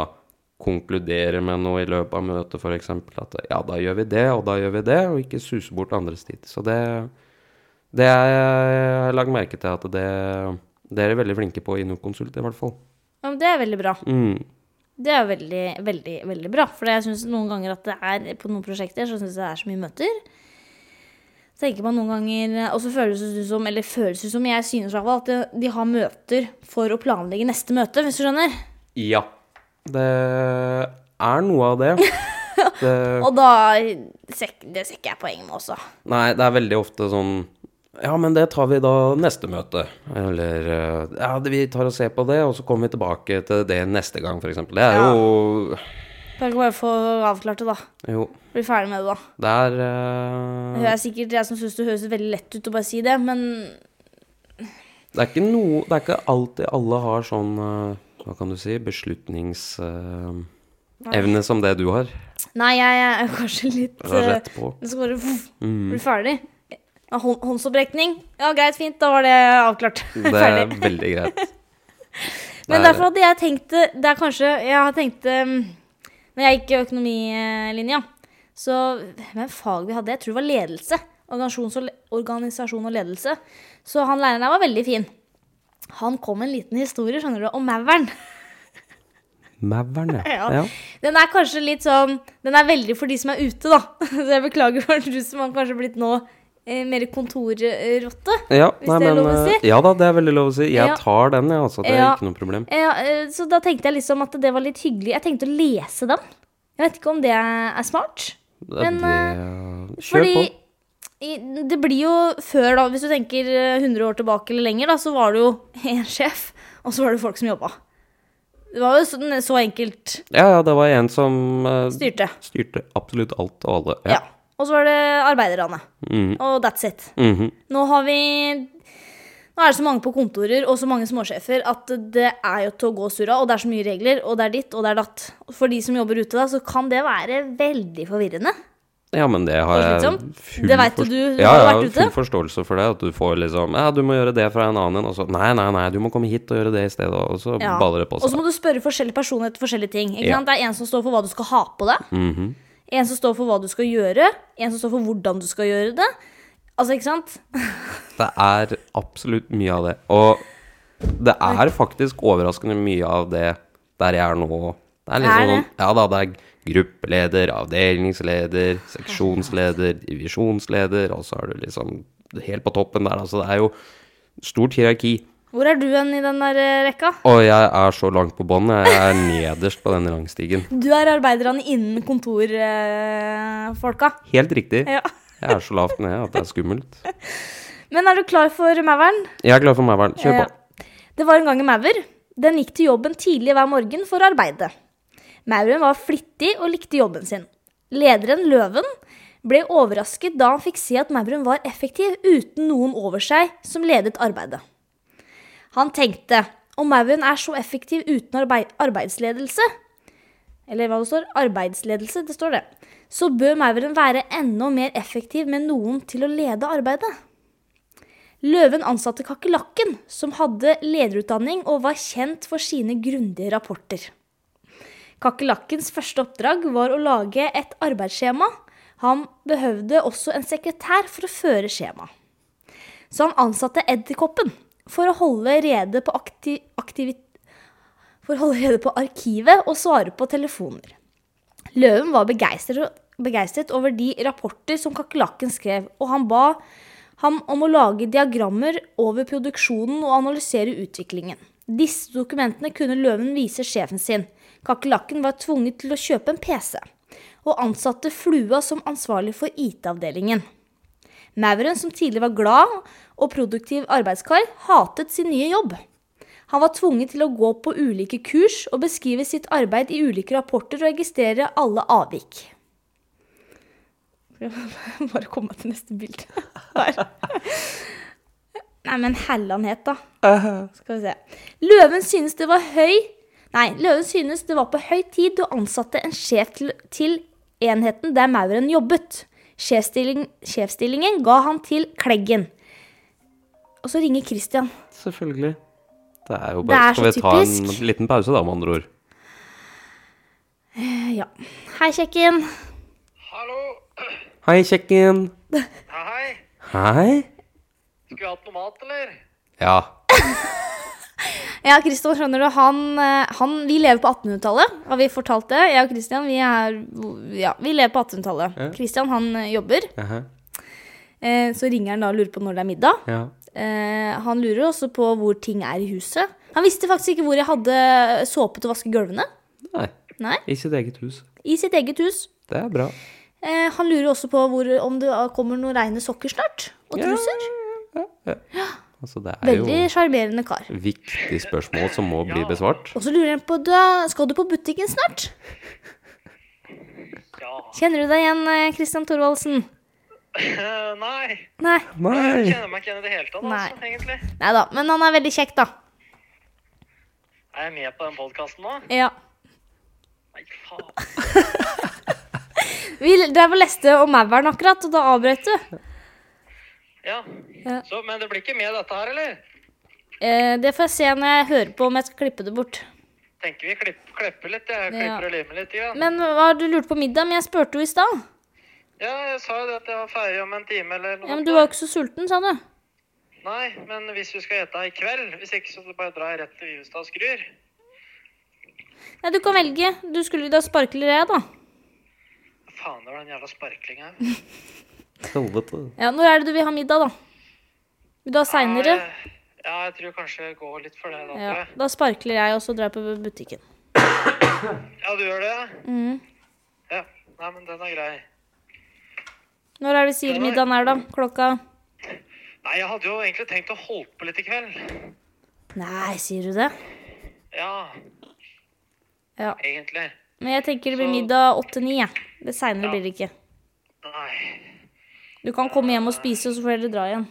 B: konkludere med noe i løpet av møtet, f.eks. At ja, da gjør vi det, og da gjør vi det, og ikke suse bort andres tid. Så det Det er jeg har lagt merke til at det Det er de veldig flinke på i Nordkonsult, i hvert fall.
A: Ja, men det er veldig bra.
B: Mm.
A: Det er veldig, veldig, veldig bra. For jeg syns noen ganger at det er på noen prosjekter så synes jeg det er så mye møter. Så tenker man noen ganger, Og så føles det som, eller føles det som, jeg synes i hvert fall, at det- de har møter for å planlegge neste møte, hvis du skjønner.
B: Ja. Det er noe av det. det
A: Og da ser ikke- Det ser ikke jeg poenget med også.
B: nei, det er veldig ofte sånn Ja, men det tar vi da neste møte. Eller eh, Ja, det- vi tar og ser på det, og så kommer vi tilbake til det neste gang, f.eks. Det er jo
A: Kan ikke bare få avklart det, da.
B: Jo.
A: Bli ferdig med det, da.
B: Det er eh,
A: Det er sikkert jeg som syns det høres veldig lett ut å bare si det, men
B: Det er ikke noe Det er ikke alltid alle har sånn eh, Hva kan du si Beslutningsevne som det du har.
A: nei, jeg er kanskje litt
B: Du er
A: eh,
B: rett på.
A: Men så bare voff,
B: Mm.
A: blir ferdig. Ja, Hånd, håndsopprekning. Ja, greit, fint. Da var det avklart.
B: Det er
A: ferdig.
B: veldig greit.
A: Men
B: det er-
A: derfor hadde jeg tenkt det Det er kanskje Jeg har tenkt um, Når jeg gikk i økonomilinja, så Hvem fag vi hadde? Jeg tror det var ledelse. Organisasjons og, le- organisasjon og ledelse. Så han læreren der var veldig fin. Han kom med en liten historie, skjønner du, om mauren.
B: Mauren, ja.
A: Ja.
B: ja.
A: Den er kanskje litt sånn Den er veldig for de som er ute, da. Så jeg beklager for du som har kanskje blitt nå eh, mer kontorrotte.
B: Ja,
A: Hvis det er lov å
B: eh,
A: si.
B: Ja da, det er veldig lov å si. Jeg
A: Ja.
B: tar den, jeg, altså. Det er
A: Ja.
B: ikke noe problem.
A: Ja, eh, så da tenkte jeg liksom at det var litt hyggelig. Jeg tenkte å lese den. Jeg vet ikke om det er smart.
B: Det,
A: Men, eh,
B: det, kjør på.
A: i- det blir jo før, da, hvis du tenker eh, 100 år tilbake eller lenger, da, så var det jo én sjef, og så var det folk som jobba. Det var jo så, så enkelt
B: Ja, ja, det var en som eh,
A: styrte.
B: styrte absolutt alt og alle.
A: Ja. Og så var det arbeiderne.
B: Mhm,
A: Og that's it.
B: mhm.
A: Nå har vi Nå er det så mange på kontorer og så mange småsjefer at det er jo til å gå surra, og det er så mye regler, og det er ditt, og det er datt. For de som jobber ute da, så kan det være veldig forvirrende.
B: ja, men det har jeg
A: Slitsomt. Det vet jo
B: forst-
A: du, du
B: ja,
A: har
B: ja,
A: vært ute.
B: full forståelse for det. At du får liksom Ja, du må gjøre det fra en annen en, og så Nei, nei, nei, du må komme hit og gjøre det i stedet, og så
A: Ja.
B: baller det på
A: Og så
B: seg.
A: må du spørre forskjellige personer etter forskjellige ting. Ikke
B: Ja.
A: sant? Det er en som står for hva du skal ha på deg,
B: Mhm.
A: en som står for hva du skal gjøre, en som står for hvordan du skal gjøre det. Altså, ikke sant?
B: Det er absolutt mye av det. Og det er faktisk overraskende mye av det der jeg er nå. Det er
A: Er
B: liksom
A: det?
B: sånn Ja da, det er gruppeleder, avdelingsleder, seksjonsleder, divisjonsleder, og så er du liksom helt på toppen der. Altså, det er jo stort hierarki.
A: Hvor er du hen i den der eh, rekka?
B: Og jeg er så langt på bånn. Jeg er nederst på den rangstigen.
A: Du er arbeiderne innen kontorfolka.
B: Helt riktig.
A: Ja.
B: Jeg er så lavt nede at det er skummelt.
A: Men er du klar for mauren?
B: Jeg er klar for Mæveren. Kjør på.
A: Ja. Eh, Det var en gang en maur. Den gikk til jobben tidlig hver morgen for å arbeide. Mauren var flittig og likte jobben sin. Lederen, Løven, ble overrasket da han fikk se at mauren var effektiv uten noen over seg som ledet arbeidet. Han tenkte om mauren er så effektiv uten arbeid arbeidsledelse, eller hva det står, arbeidsledelse, det står det, så bør mauren være enda mer effektiv med noen til å lede arbeidet. Løven ansatte kakerlakken, som hadde lederutdanning og var kjent for sine grundige rapporter. Kakerlakkens første oppdrag var å lage et arbeidsskjema. Han behøvde også en sekretær for å føre skjemaet. Så han ansatte Edderkoppen for å holde rede på akti aktivi- for å holde rede på arkivet og svare på telefoner. Løven var begeistret, begeistret over de rapporter som kakerlakken skrev, og han ba ham om å lage diagrammer over produksjonen og analysere utviklingen. Disse dokumentene kunne løven vise sjefen sin. Kakerlakken var tvunget til å kjøpe en PC, og ansatte flua som ansvarlig for IT-avdelingen. Mauren, som tidligere var glad og produktiv arbeidskar, hatet sin nye jobb. Han var tvunget til å gå på ulike kurs og beskrive sitt arbeid i ulike rapporter og registrere alle avvik. Bare komme meg til neste bilde. Der. Nei, men hellanhet, da. Skal vi se. Løven synes det var høy Nei, løven synes det var på høy tid å ansatte en sjef til, til enheten der mauren jobbet. Sjefsstilling, sjefsstillingen ga han til Kleggen. Og så ringer Christian.
B: Selvfølgelig. Det er jo
A: Det
B: bare
A: er
B: Skal
A: så
B: vi ta
A: typisk.
B: en liten pause, da, med andre ord?
A: Eh, Ja. Hei, kjekken.
C: Hallo.
B: Hei, kjekken.
C: Ja, Hei.
B: Hei.
C: Skulle vi hatt noe mat, eller?
B: Ja.
A: Ja, Christian, skjønner du, han, eh, han Vi lever på 1800-tallet, har vi fortalt det? Jeg og Christian, vi er Ja, vi lever på 1800-tallet. Christian, han eh, jobber.
B: Jaha.
A: Eh, Så ringer han da og lurer på når det er middag.
B: Ja.
A: Eh, han lurer også på hvor ting er i huset. Han visste faktisk ikke hvor jeg hadde såpe til å vaske gulvene.
B: Nei.
A: Nei,
B: I sitt eget hus.
A: I sitt eget hus.
B: Det er bra.
A: Eh, han lurer også på hvor, om det ah, kommer noen reine sokker snart. Og truser.
B: Altså, det er
A: Veldig sjarmerende kar.
B: jo viktige spørsmål som må bli besvart.
A: Og så lurer han på da, Skal du på butikken snart.
C: Ja.
A: Kjenner du deg igjen, eh, Christian Thorvaldsen?
C: Eh, Nei.
A: Nei.
C: Jeg
B: Nei.
C: kjenner meg ikke igjen i det hele tatt,
A: Nei.
C: altså, egentlig.
A: Nei da. Men han er veldig kjekk, da.
C: Er jeg med på den podkasten nå?
A: Ja.
C: Nei, faen.
A: Vi drev og leste om mauren akkurat, og da avbrøt du.
C: Ja.
A: Ja.
C: Så, men det blir ikke med dette her, eller?
A: Eh, det får jeg se når jeg hører på om jeg skal klippe det bort.
C: Tenker vi klipp, klipper litt, jeg.
A: Ja.
C: Klipper og limer litt, ja.
A: Men hva har du lurt på middag? Men jeg spurte jo i stad.
C: Ja, jeg sa jo det at jeg var ferdig om en time eller noe.
A: Ja, men Du var jo ikke så sulten, sa du.
C: Nei, men hvis vi skal ete i kveld, hvis ikke så bare drar jeg rett til Vivestad og skrur.
A: Nei, Du kan velge. Du skulle da sparkle jeg, da.
C: Faen, det var den jævla sparklinga. her.
B: Helvete.
A: Ja, Når er det du vil ha middag, da? Vil du ha seinere?
C: Ja, jeg- Ja, jeg tror kanskje jeg går litt for det da, tror
A: Ja,
C: jeg.
A: da sparkler jeg, og så drar jeg på butikken.
C: Ja, du gjør det? ja?
A: Mm.
C: Ja. Nei, men den er grei.
A: Når er det sier middagen er, da? Klokka
C: Nei, jeg hadde jo egentlig tenkt å holde på litt i kveld.
A: Nei, sier du det?
C: Ja,
A: Ja.
C: egentlig.
A: Men jeg tenker det blir middag åtte-ni, jeg. Det seinere blir det ikke.
C: Nei.
A: Du kan komme hjem og spise, og så får dere dra igjen.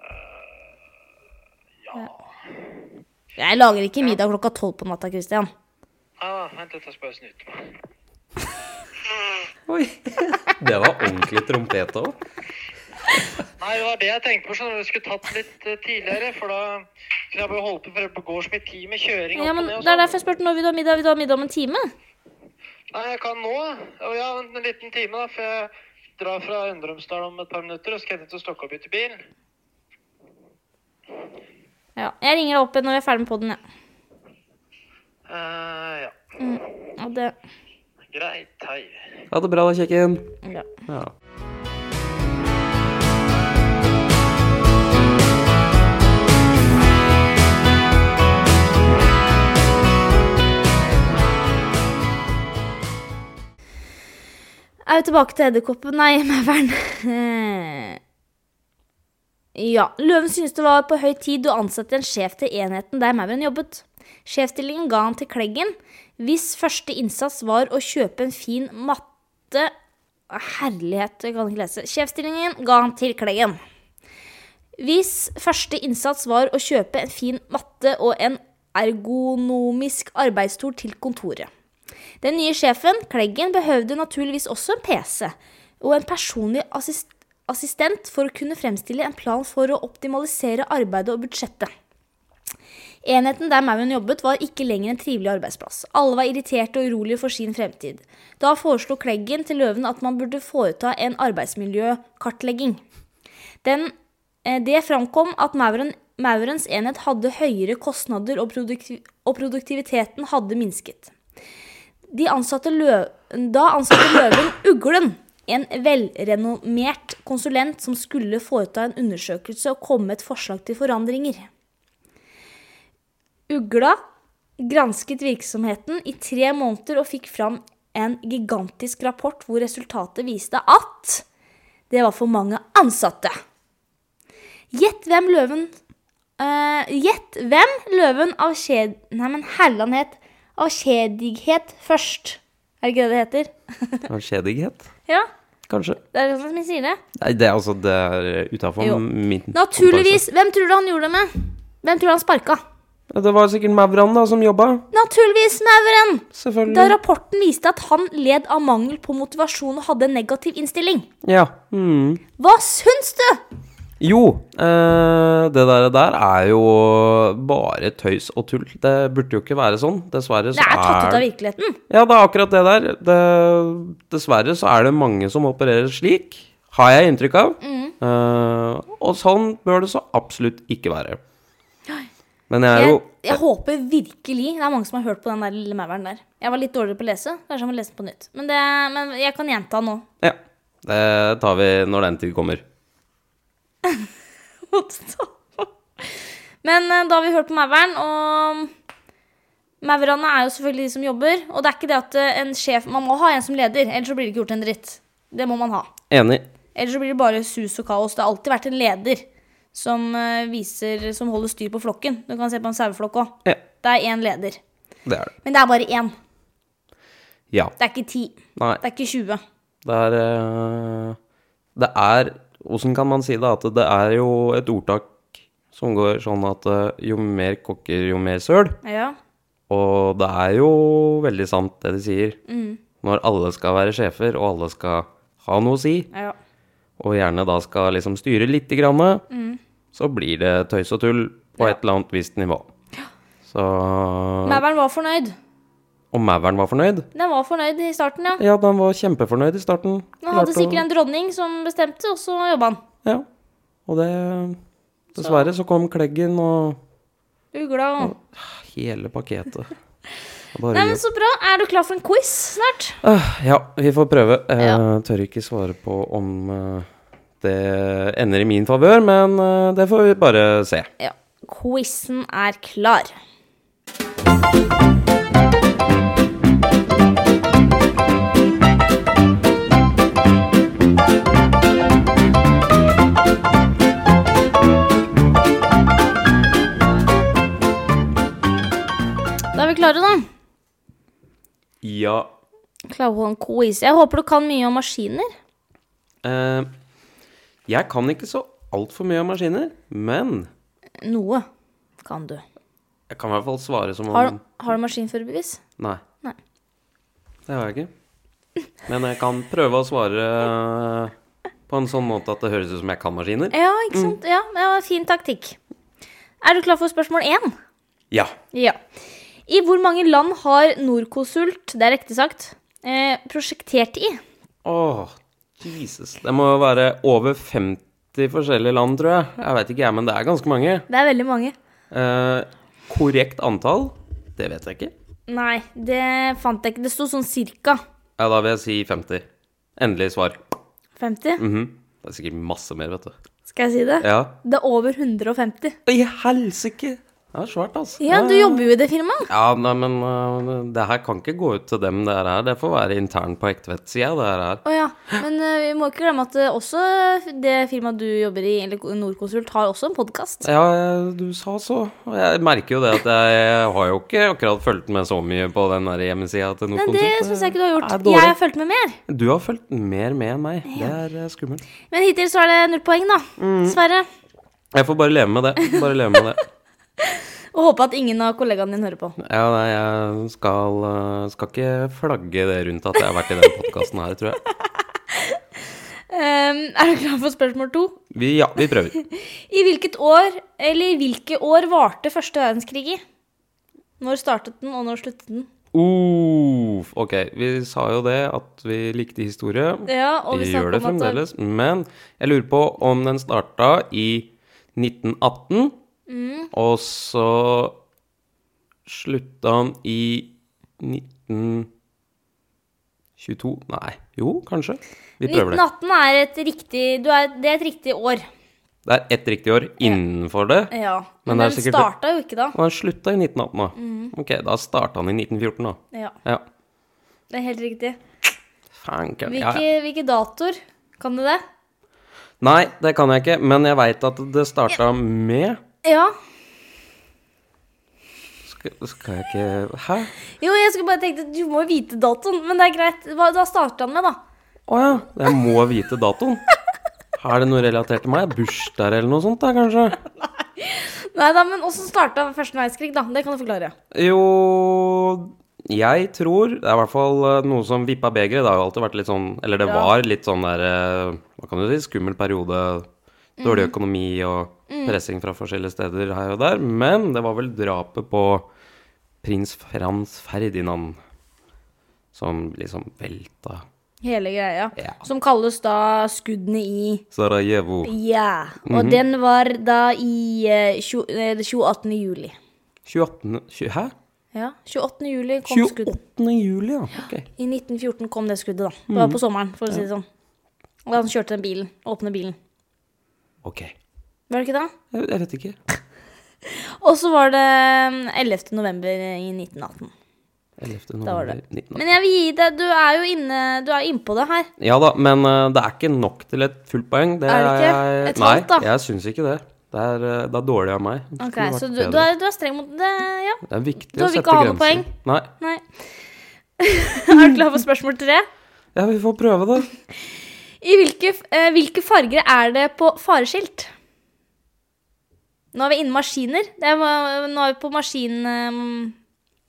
A: Eh, Ja. Jeg lager ikke middag klokka tolv på natta, Christian.
C: Nei da, Ah, vent litt, jeg skal bare snyte meg.
B: Oi. Det var ordentlig trompet òg.
C: Nei, det var det jeg tenkte på, sånn at jeg skulle tatt litt eh, tidligere, for da kunne jeg bare holde på, for det går som en time med kjøring
A: Ja,
C: opp og
A: men
C: ned og
A: Det er
C: sånn.
A: derfor jeg spurte når vil du ha middag. Vil du ha middag om en time?
C: Nei, jeg kan nå. Og ja, vent en liten time da, for jeg drar fra Øndrumsdal om et par minutter, og skal jeg til Stokka og bytte bil.
A: Ja. Jeg ringer deg opp igjen når jeg er ferdig med podden, jeg.
C: Eh, ja,
A: Ja. Og det
C: greit, hei.
B: Ha det bra, da, kjekken.
A: ja.
B: Ja.
A: Jeg er jo tilbake til edderkoppen. Nei, mauren. Eh, Ja. Løven syntes det var på høy tid å ansette en sjef til enheten der mauren jobbet. Sjefsstillingen ga han til Kleggen, hvis første innsats var å kjøpe en fin matte Herlighet, jeg kan ikke lese. Sjefsstillingen ga han til Kleggen. Hvis første innsats var å kjøpe en fin matte og en ergonomisk arbeidsstol til kontoret. Den nye sjefen, Kleggen, behøvde naturligvis også en PC og en personlig assist assistent for å kunne fremstille en plan for å optimalisere arbeidet og budsjettet. Enheten der Mauren jobbet, var ikke lenger en trivelig arbeidsplass. Alle var irriterte og urolige for sin fremtid. Da foreslo Kleggen til Løven at man burde foreta en arbeidsmiljøkartlegging. Den eh, Eh, Det framkom at Mauren, Maurens enhet hadde høyere kostnader, og, produktiv og produktiviteten hadde minsket. De ansatte lø da ansatte Løven Uglen, en velrenommert konsulent som skulle foreta en undersøkelse og komme med et forslag til forandringer. Ugla gransket virksomheten i tre måneder og fikk fram en gigantisk rapport hvor resultatet viste at det var for mange ansatte. Gjett hvem løven eh, Gjett hvem løven av kjed... Nei, men Herland het avskjedighet først. Er det ikke det det heter?
B: Av Kjedighet,
A: Ja,
B: kanskje.
A: det er sånn som jeg sier det.
B: Nei, det er altså det er utafor
A: Jo.
B: min
A: Naturligvis. Hvem tror du han gjorde det med? Hvem tror du han sparka?
B: kompetanse. Det var sikkert Mauran da som jobba.
A: Naturligvis, Mauren! Da
B: Selvfølgelig.
A: rapporten viste at han led av mangel på motivasjon og hadde en negativ innstilling.
B: Ja. Mm.
A: Hva syns du?
B: Jo, eh, det der, der er jo bare tøys og tull. Det burde jo ikke være sånn. Dessverre så
A: Det er tatt ut av
B: det-
A: virkeligheten.
B: Ja, det er akkurat det der. Det, dessverre så er det mange som opererer slik, har jeg inntrykk av.
A: Mm.
B: Eh, og sånn bør det så absolutt ikke være. Men jeg er
A: Jeg,
B: Eh, jo
A: jeg håper virkelig Det er mange som har hørt på den der lille mauren der. Jeg var litt dårligere på å lese. Kanskje jeg må lese den på nytt. Men, det, men jeg kan gjenta nå.
B: Ja. Det tar vi når den tid kommer.
A: Men eh, da har vi hørt på mauren, og mm, maurene er jo selvfølgelig de som jobber. Og det er ikke det at eh, en sjef Man må ha en som leder, ellers så blir det ikke gjort en dritt. Det må man ha.
B: Enig.
A: Ellers så blir det bare sus og kaos. Det har alltid vært en leder som, eh, viser, som holder styr på flokken. Du kan se på en saueflokk òg.
B: Ja,
A: Det er én leder.
B: det er det.
A: Men det er bare én.
B: Ja.
A: Det er ikke ti.
B: Nei,
A: Det er ikke 20.
B: det er eh, Det er Åssen kan man si det? At det er jo et ordtak som går sånn at eh, jo mer kokker, jo mer søl.
A: Ja.
B: Og det er jo veldig sant det de sier.
A: Mm.
B: Når alle skal være sjefer, og alle skal ha noe å si,
A: ja.
B: og gjerne da skal liksom styre lite grann,
A: Mm.
B: så blir det tøys og tull på et eller annet visst nivå. Så
A: Mauren var fornøyd.
B: Og Mauren var fornøyd?
A: Den var fornøyd i starten, ja.
B: Ja, den var kjempefornøyd i starten.
A: Han hadde
B: Klarte å-
A: sikkert en dronning som bestemte, og så jobba han.
B: Ja. Og det Dessverre så kom Kleggen og
A: Ugla og
B: hele pakketet. Og Bare
A: Nei, men så bra. Er du klar for en quiz snart?
B: Øh, Ja, vi får prøve. Jeg
A: Ja.
B: tør ikke svare på om eh, det ender i min favør, men eh, det får vi bare se.
A: Ja. Quizen er klar. Da er vi klare, da.
B: Ja.
A: Klare på en quiz. Jeg håper du kan mye om maskiner.
B: eh, jeg kan ikke så altfor mye om maskiner, men
A: Noe kan du.
B: jeg kan i hvert fall svare som om
A: Har, har du maskinførerbevis?
B: Nei.
A: Nei.
B: Det har jeg ikke. Men jeg kan prøve å svare eh, på en sånn måte at det høres ut som jeg kan maskiner.
A: Ja, ikke sant? Ja, ja, fin taktikk. Er du klar for spørsmål én?
B: Ja.
A: Ja. I hvor mange land har Norconsult, det er riktig sagt, eh, prosjektert i?
B: Åh, Jesus. Det må jo være over 50 forskjellige land, tror jeg. Jeg veit ikke, jeg, men det er ganske mange.
A: Det er veldig mange.
B: Eh, korrekt antall? Det vet jeg ikke.
A: Nei, det fant jeg ikke. Det sto sånn cirka
B: Ja, da vil jeg si 50. Endelig svar.
A: 50.
B: Mhm. Det er sikkert masse mer, vet du.
A: Skal jeg si det?
B: Ja.
A: Det er over 150.
B: I helsike! Det er svært, altså.
A: Ja, du jobber jo i det firmaet.
B: Ja, nei, men eh, det her kan ikke gå ut til dem det her er. Det får være internt på Ektvedt, sier jeg, det her er.
A: Å ja. Men eh, vi må ikke glemme at eh, også det firmaet du jobber i, eller Norconsult, har også en podkast.
B: Ja, eh, du sa så. Og jeg merker jo det at jeg har jo ikke akkurat fulgt med så mye på den der hjemmesida til
A: Men det
B: Nordkonsult.
A: syns jeg ikke du har
B: er
A: gjort.
B: dårlig.
A: Jeg har fulgt med mer.
B: Du har fulgt mer med enn meg. Det er eh, skummelt.
A: Men hittil så er det null poeng, da.
B: Mm.
A: Dessverre.
B: Jeg får bare leve med det. Bare leve med det.
A: Og håpe at ingen av kollegaene dine hører på.
B: Ja, nei, jeg skal, eh, skal ikke flagge det rundt at jeg har vært i den podkasten her, tror jeg.
A: Ehm, er du klar for spørsmål to?
B: Vi, ja, vi prøver.
A: I hvilket år, eller i hvilke år varte første verdenskrig i? Når startet den, og når sluttet den?
B: Uff, ok, vi sa jo det at vi likte historie.
A: Ja, og
B: vi
A: vi
B: gjør det
A: snakket om at-
B: fremdeles. Men jeg lurer på om den starta i 1918. Og så slutta han i 1922 Nei, jo, kanskje. Vi prøver det.
A: 1918 er et riktig du er, Det er et riktig år.
B: Det er ett riktig år innenfor det.
A: Ja.
B: Men
A: Men,
B: det er
A: den
B: sikkert-
A: starta jo ikke da.
B: Og han slutta i 1918, da. Ok, da starta han i 1914, da.
A: Ja,
B: Ja.
A: det er helt riktig.
B: Fanken. Ja,
A: Hvilke,
B: ja.
A: hvilke datoer? Kan du det?
B: Nei, det kan jeg ikke, men jeg veit at det starta med
A: Ja.
B: skal, skal jeg ikke Hæ?
A: Jo, jeg skulle bare tenkt at du må jo vite datoen, men det er greit. Hva, da starter han med, da.
B: Å ja, jeg må vite datoen. Er det noe relatert til meg? Bursdag eller noe sånt, da, kanskje?
A: Nei da, men åssen starta første verdenskrig, da? Det kan du forklare.
B: Jo Jeg tror Det er i hvert fall eh, noe som vippa begeret. Det har jo alltid vært litt sånn Eller det
A: Ja.
B: var litt sånn der eh, Hva kan du si? Skummel periode. Dårlig økonomi og pressing fra forskjellige steder her og der. Men det var vel drapet på prins Frans Ferdinand som liksom velta
A: Hele greia.
B: Ja.
A: Som kalles da skuddene i
B: Sarajevo.
A: Ja. Og
B: Mhm.
A: den var da i eh, tjo- eh, 28. juli.
B: 28. tjue- Hæ?
A: Ja, 28. juli kom skuddet.
B: 28. juli, ja. Ok.
A: I 1914 kom det skuddet, da. Det
B: Mhm.
A: var på sommeren, for å si det sånn. Og han kjørte den bilen. Åpne bilen.
B: Ok.
A: Var det ikke det?
B: Jeg, jeg vet ikke.
A: Og så var det mm, 11. november i 1918.
B: 11.
A: Da var
B: november
A: det.
B: 1918.
A: Men jeg vil gi deg Du er jo inne Du er innpå det her.
B: Ja da, men eh, det er ikke nok til et fullt poeng. Det
A: Er det ikke?
B: jeg-
A: Et halvt, da?
B: Nei, jeg syns ikke det. Det er, eh, det er dårlig av meg. Det
A: Ok,
B: skulle vært
A: Så du,
B: bedre.
A: du, er, du er streng mot det, ja.
B: Det er viktig
A: Da
B: å
A: vil
B: sette
A: ikke ha noe
B: grenser.
A: poeng.
B: Nei.
A: Nei. er du klar for spørsmål tre?
B: Ja, vi får prøve det.
A: I hvilke, eh, hvilke farger er det på fareskilt? Nå er vi inne maskiner. Det er, eh, nå er vi på eh, maskinverden.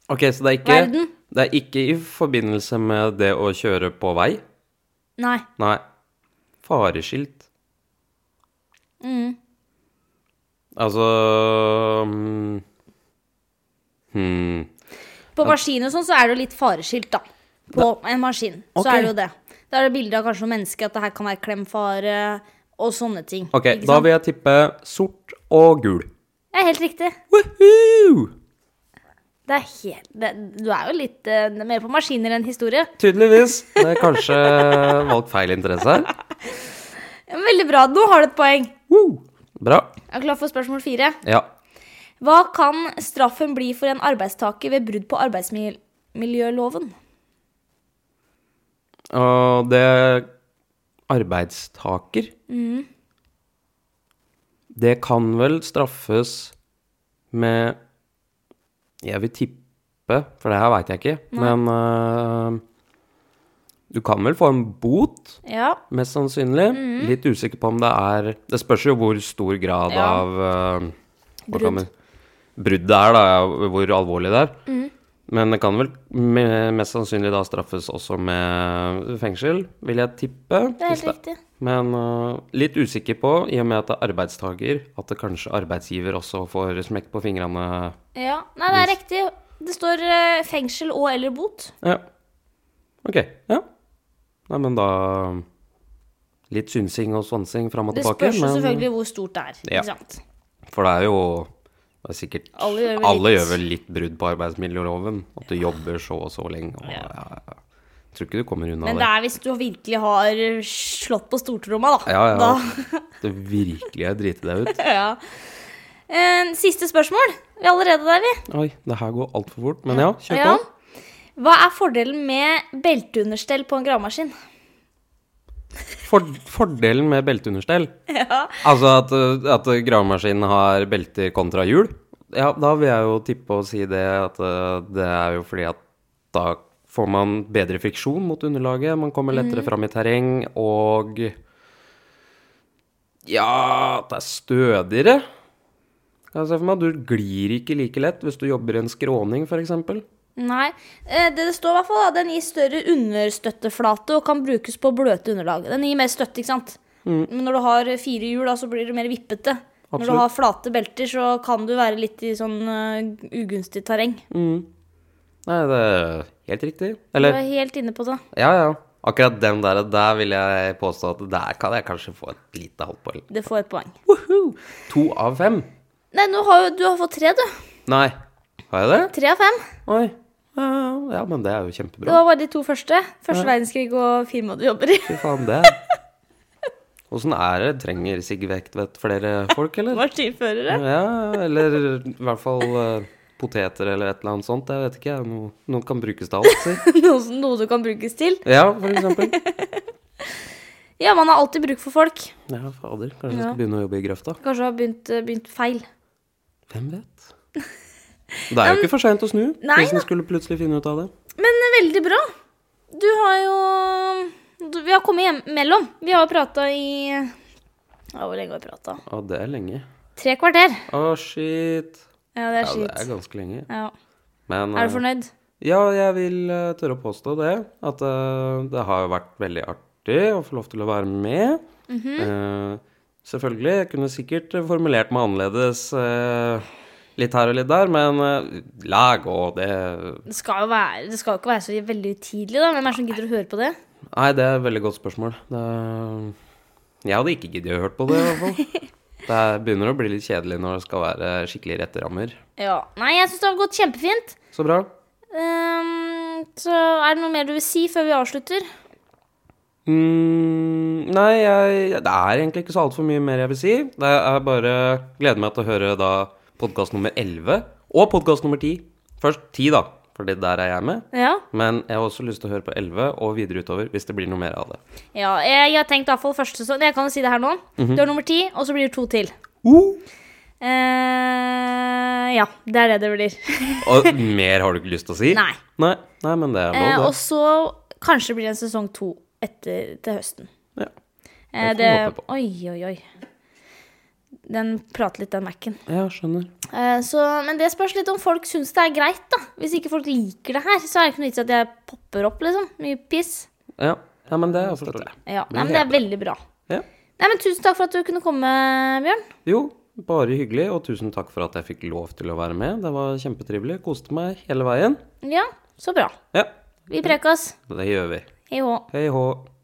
B: Ok, så det er ikke,
A: Verden.
B: det er ikke i forbindelse med det å kjøre på vei?
A: Nei.
B: Nei. Fareskilt.
A: Mm.
B: Altså mm, hmm.
A: På maskin og sånn så er det jo litt fareskilt, da. På en maskin. Så
B: Ok.
A: er det jo det. Da er det bilder av kanskje noen mennesker, at det her kan være klemfare og sånne ting.
B: Ok,
A: Ikke
B: da
A: sant?
B: vil jeg tippe sort og gul.
A: Det er helt riktig.
B: Woohoo!
A: Det er helt, det, du er jo litt eh, mer på maskiner enn historie.
B: Tydeligvis. Det er kanskje valgt feil interesse her.
A: Ja, men Veldig bra. Nå har du et poeng.
B: Woo! Bra.
A: Er du klar for spørsmål fire?
B: Ja.
A: Hva kan straffen bli for en arbeidstaker ved brudd på arbeidsmiljøloven?
B: Og det Arbeidstaker
A: Mm.
B: Det kan vel straffes med Jeg vil tippe, for det her veit jeg ikke, men øh, Du kan vel få en bot,
A: Ja.
B: mest sannsynlig.
A: Mhm.
B: Litt usikker på om det er Det spørs jo hvor stor grad
A: Ja.
B: av øh, hva
A: Brudd.
B: kan man- Brudd det er, da. ja, Hvor alvorlig det er.
A: Mhm.
B: Men det kan vel me- mest sannsynlig da straffes også med fengsel, vil jeg tippe.
A: Det er
B: hvis
A: helt riktig.
B: Men øh, litt usikker på, i og med at det er arbeidstaker, at det kanskje arbeidsgiver også får smekk på fingrene.
A: Ja. Nei, det er riktig. Det står eh, fengsel og eller bot.
B: Ja. Ok. Ja. Nei, men da Litt synsing og svansing fram og
A: Det
B: tilbake.
A: spørs jo
B: men-
A: selvfølgelig hvor stort det er.
B: Ja.
A: Ikke sant?
B: For det er jo det er sikkert
A: Alle gjør vel
B: alle
A: litt.
B: gjør vel litt brudd på arbeidsmiljøloven. At du jobber så og så lenge. Og, ja. Ja, ja. Jeg tror ikke du kommer unna
A: Men det er hvis du virkelig har slått på stortromma, da.
B: Ja, ja.
A: Da-
B: Det virkelig er driti deg ut.
A: ja. Eh, siste spørsmål. Vi er allerede der, vi.
B: Oi, det her går altfor fort. Men ja, kjør
A: Ja.
B: på.
A: Hva er fordelen med belteunderstell på en gravemaskin?
B: For, fordelen med belteunderstell Altså at, uh, at gravemaskinen har belter kontra hjul. Ja, da vil jeg jo tippe å si det at uh, det er jo fordi at da får man bedre friksjon mot underlaget. Man kommer lettere fram i terreng, og Ja, det er stødigere. Kan jeg se for meg. Du glir ikke like lett hvis du jobber i en skråning, f.eks.
A: Nei, eh, det det står i hvert fall, da, den gir større understøtteflate og kan brukes på bløte underlag. Den gir mer støtte, ikke sant? Men når du har fire hjul, da, så blir det mer vippete. Når
B: Absolutt.
A: du har flate belter, så kan du være litt i sånn eh, ugunstig terreng.
B: Nei, det er helt riktig.
A: Du
B: Eller
A: er helt inne på det.
B: Ja, ja. Akkurat den der, der vil jeg påstå at der kan jeg kanskje få et lite halvt poeng.
A: Det får et poeng.
B: Woohoo! To av fem.
A: Nei, nå har jo, du har fått tre, du.
B: Nei, har jeg det?
A: Tre av fem.
B: Oi. Eh, Ja, men det er jo
A: Det
B: kjempebra.
A: var bare de to første. Første verdenskrig og firmaet du jobber i.
B: Fy faen, det. Åssen er det? Trenger Sigve Ektvedt flere folk, eller?
A: Maskinførere.
B: Ja, eller i hvert fall eh, poteter eller et eller annet sånt. Jeg vet ikke. jeg. Noe, noe kan brukes til alt, si.
A: Noe, som- noe du kan brukes til.
B: Ja, for eksempel.
A: Ja, man har alltid bruk for folk.
B: Ja, fader. Kanskje jeg
A: Ja.
B: skal begynne å jobbe i grøfta.
A: Kanskje har begynt, eh, begynt feil.
B: Hvem vet? Det er jo ikke for seint å snu.
A: nei
B: Hvis en skulle plutselig finne ut av det.
A: Men eh, veldig bra. Du har jo du, Vi har kommet hjem mellom. Vi har prata i ja, Hvor lenge har vi prata?
B: Å, det er lenge.
A: Tre kvarter.
B: Å, shit.
A: Ja, det er
B: Ja, det
A: skitt.
B: er ganske lenge.
A: Ja.
B: Men
A: Er
B: eh,
A: du fornøyd?
B: ja, jeg vil eh, tørre å påstå det. At eh, det har jo vært veldig artig å få lov til å være med.
A: Mhm.
B: Eh, selvfølgelig. Jeg kunne sikkert formulert meg annerledes eh, litt her og litt der, men eh, la gå. Det
A: Det skal jo være, det skal jo ikke være så veldig utidelig, da. Hvem er det som gidder å høre på det?
B: Nei, det er et veldig godt spørsmål. Det er... Jeg hadde ikke giddet å hørt på det, i hvert fall. Det er- begynner å bli litt kjedelig når det skal være skikkelig rette rammer.
A: Ja. Nei, jeg syns det har gått kjempefint.
B: Så bra.
A: Ehm, så er det noe mer du vil si før vi avslutter?
B: Mm, nei, jeg, det er egentlig ikke så altfor mye mer jeg vil si. Det er bare gleder meg til å høre da podkast nummer 11 og podkast nummer 10. Først 10, da, for der er jeg med.
A: Ja.
B: Men jeg har også lyst til å høre på 11 og videre utover hvis det blir noe mer av det.
A: ja jeg, jeg har tenkt i hvert fall første sesong. Jeg kan jo si det her nå. Du har nummer ti, og så blir det to til.
B: Uh.
A: Eh, ja, det er det det blir.
B: Og mer har du ikke lyst til å si?
A: Nei.
B: Nei, nei men det er
A: Eh,
B: lov,
A: og så kanskje blir det en sesong to etter, til høsten.
B: det. Ja.
A: Eh,
B: Det får vi
A: det,
B: håpe
A: oi, oi, oi. Den prater litt, den Mac-en.
B: ja, skjønner.
A: Eh, så, men det spørs litt om folk syns det er greit, da. Hvis ikke folk liker det her, så er det ikke noe vits i at jeg popper opp, liksom. Mye piss.
B: Ja, ja men det er forståelig.
A: Ja,
B: Men
A: nei, men det er veldig bra.
B: Ja.
A: Nei, men Tusen takk for at du kunne komme, Bjørn.
B: Jo, bare hyggelig, og tusen takk for at jeg fikk lov til å være med. Det var kjempetrivelig. Koste meg hele veien.
A: Ja, så bra.
B: Ja,
A: Vi prekas.
B: det gjør vi.
A: Hei hå.
B: Hei hå.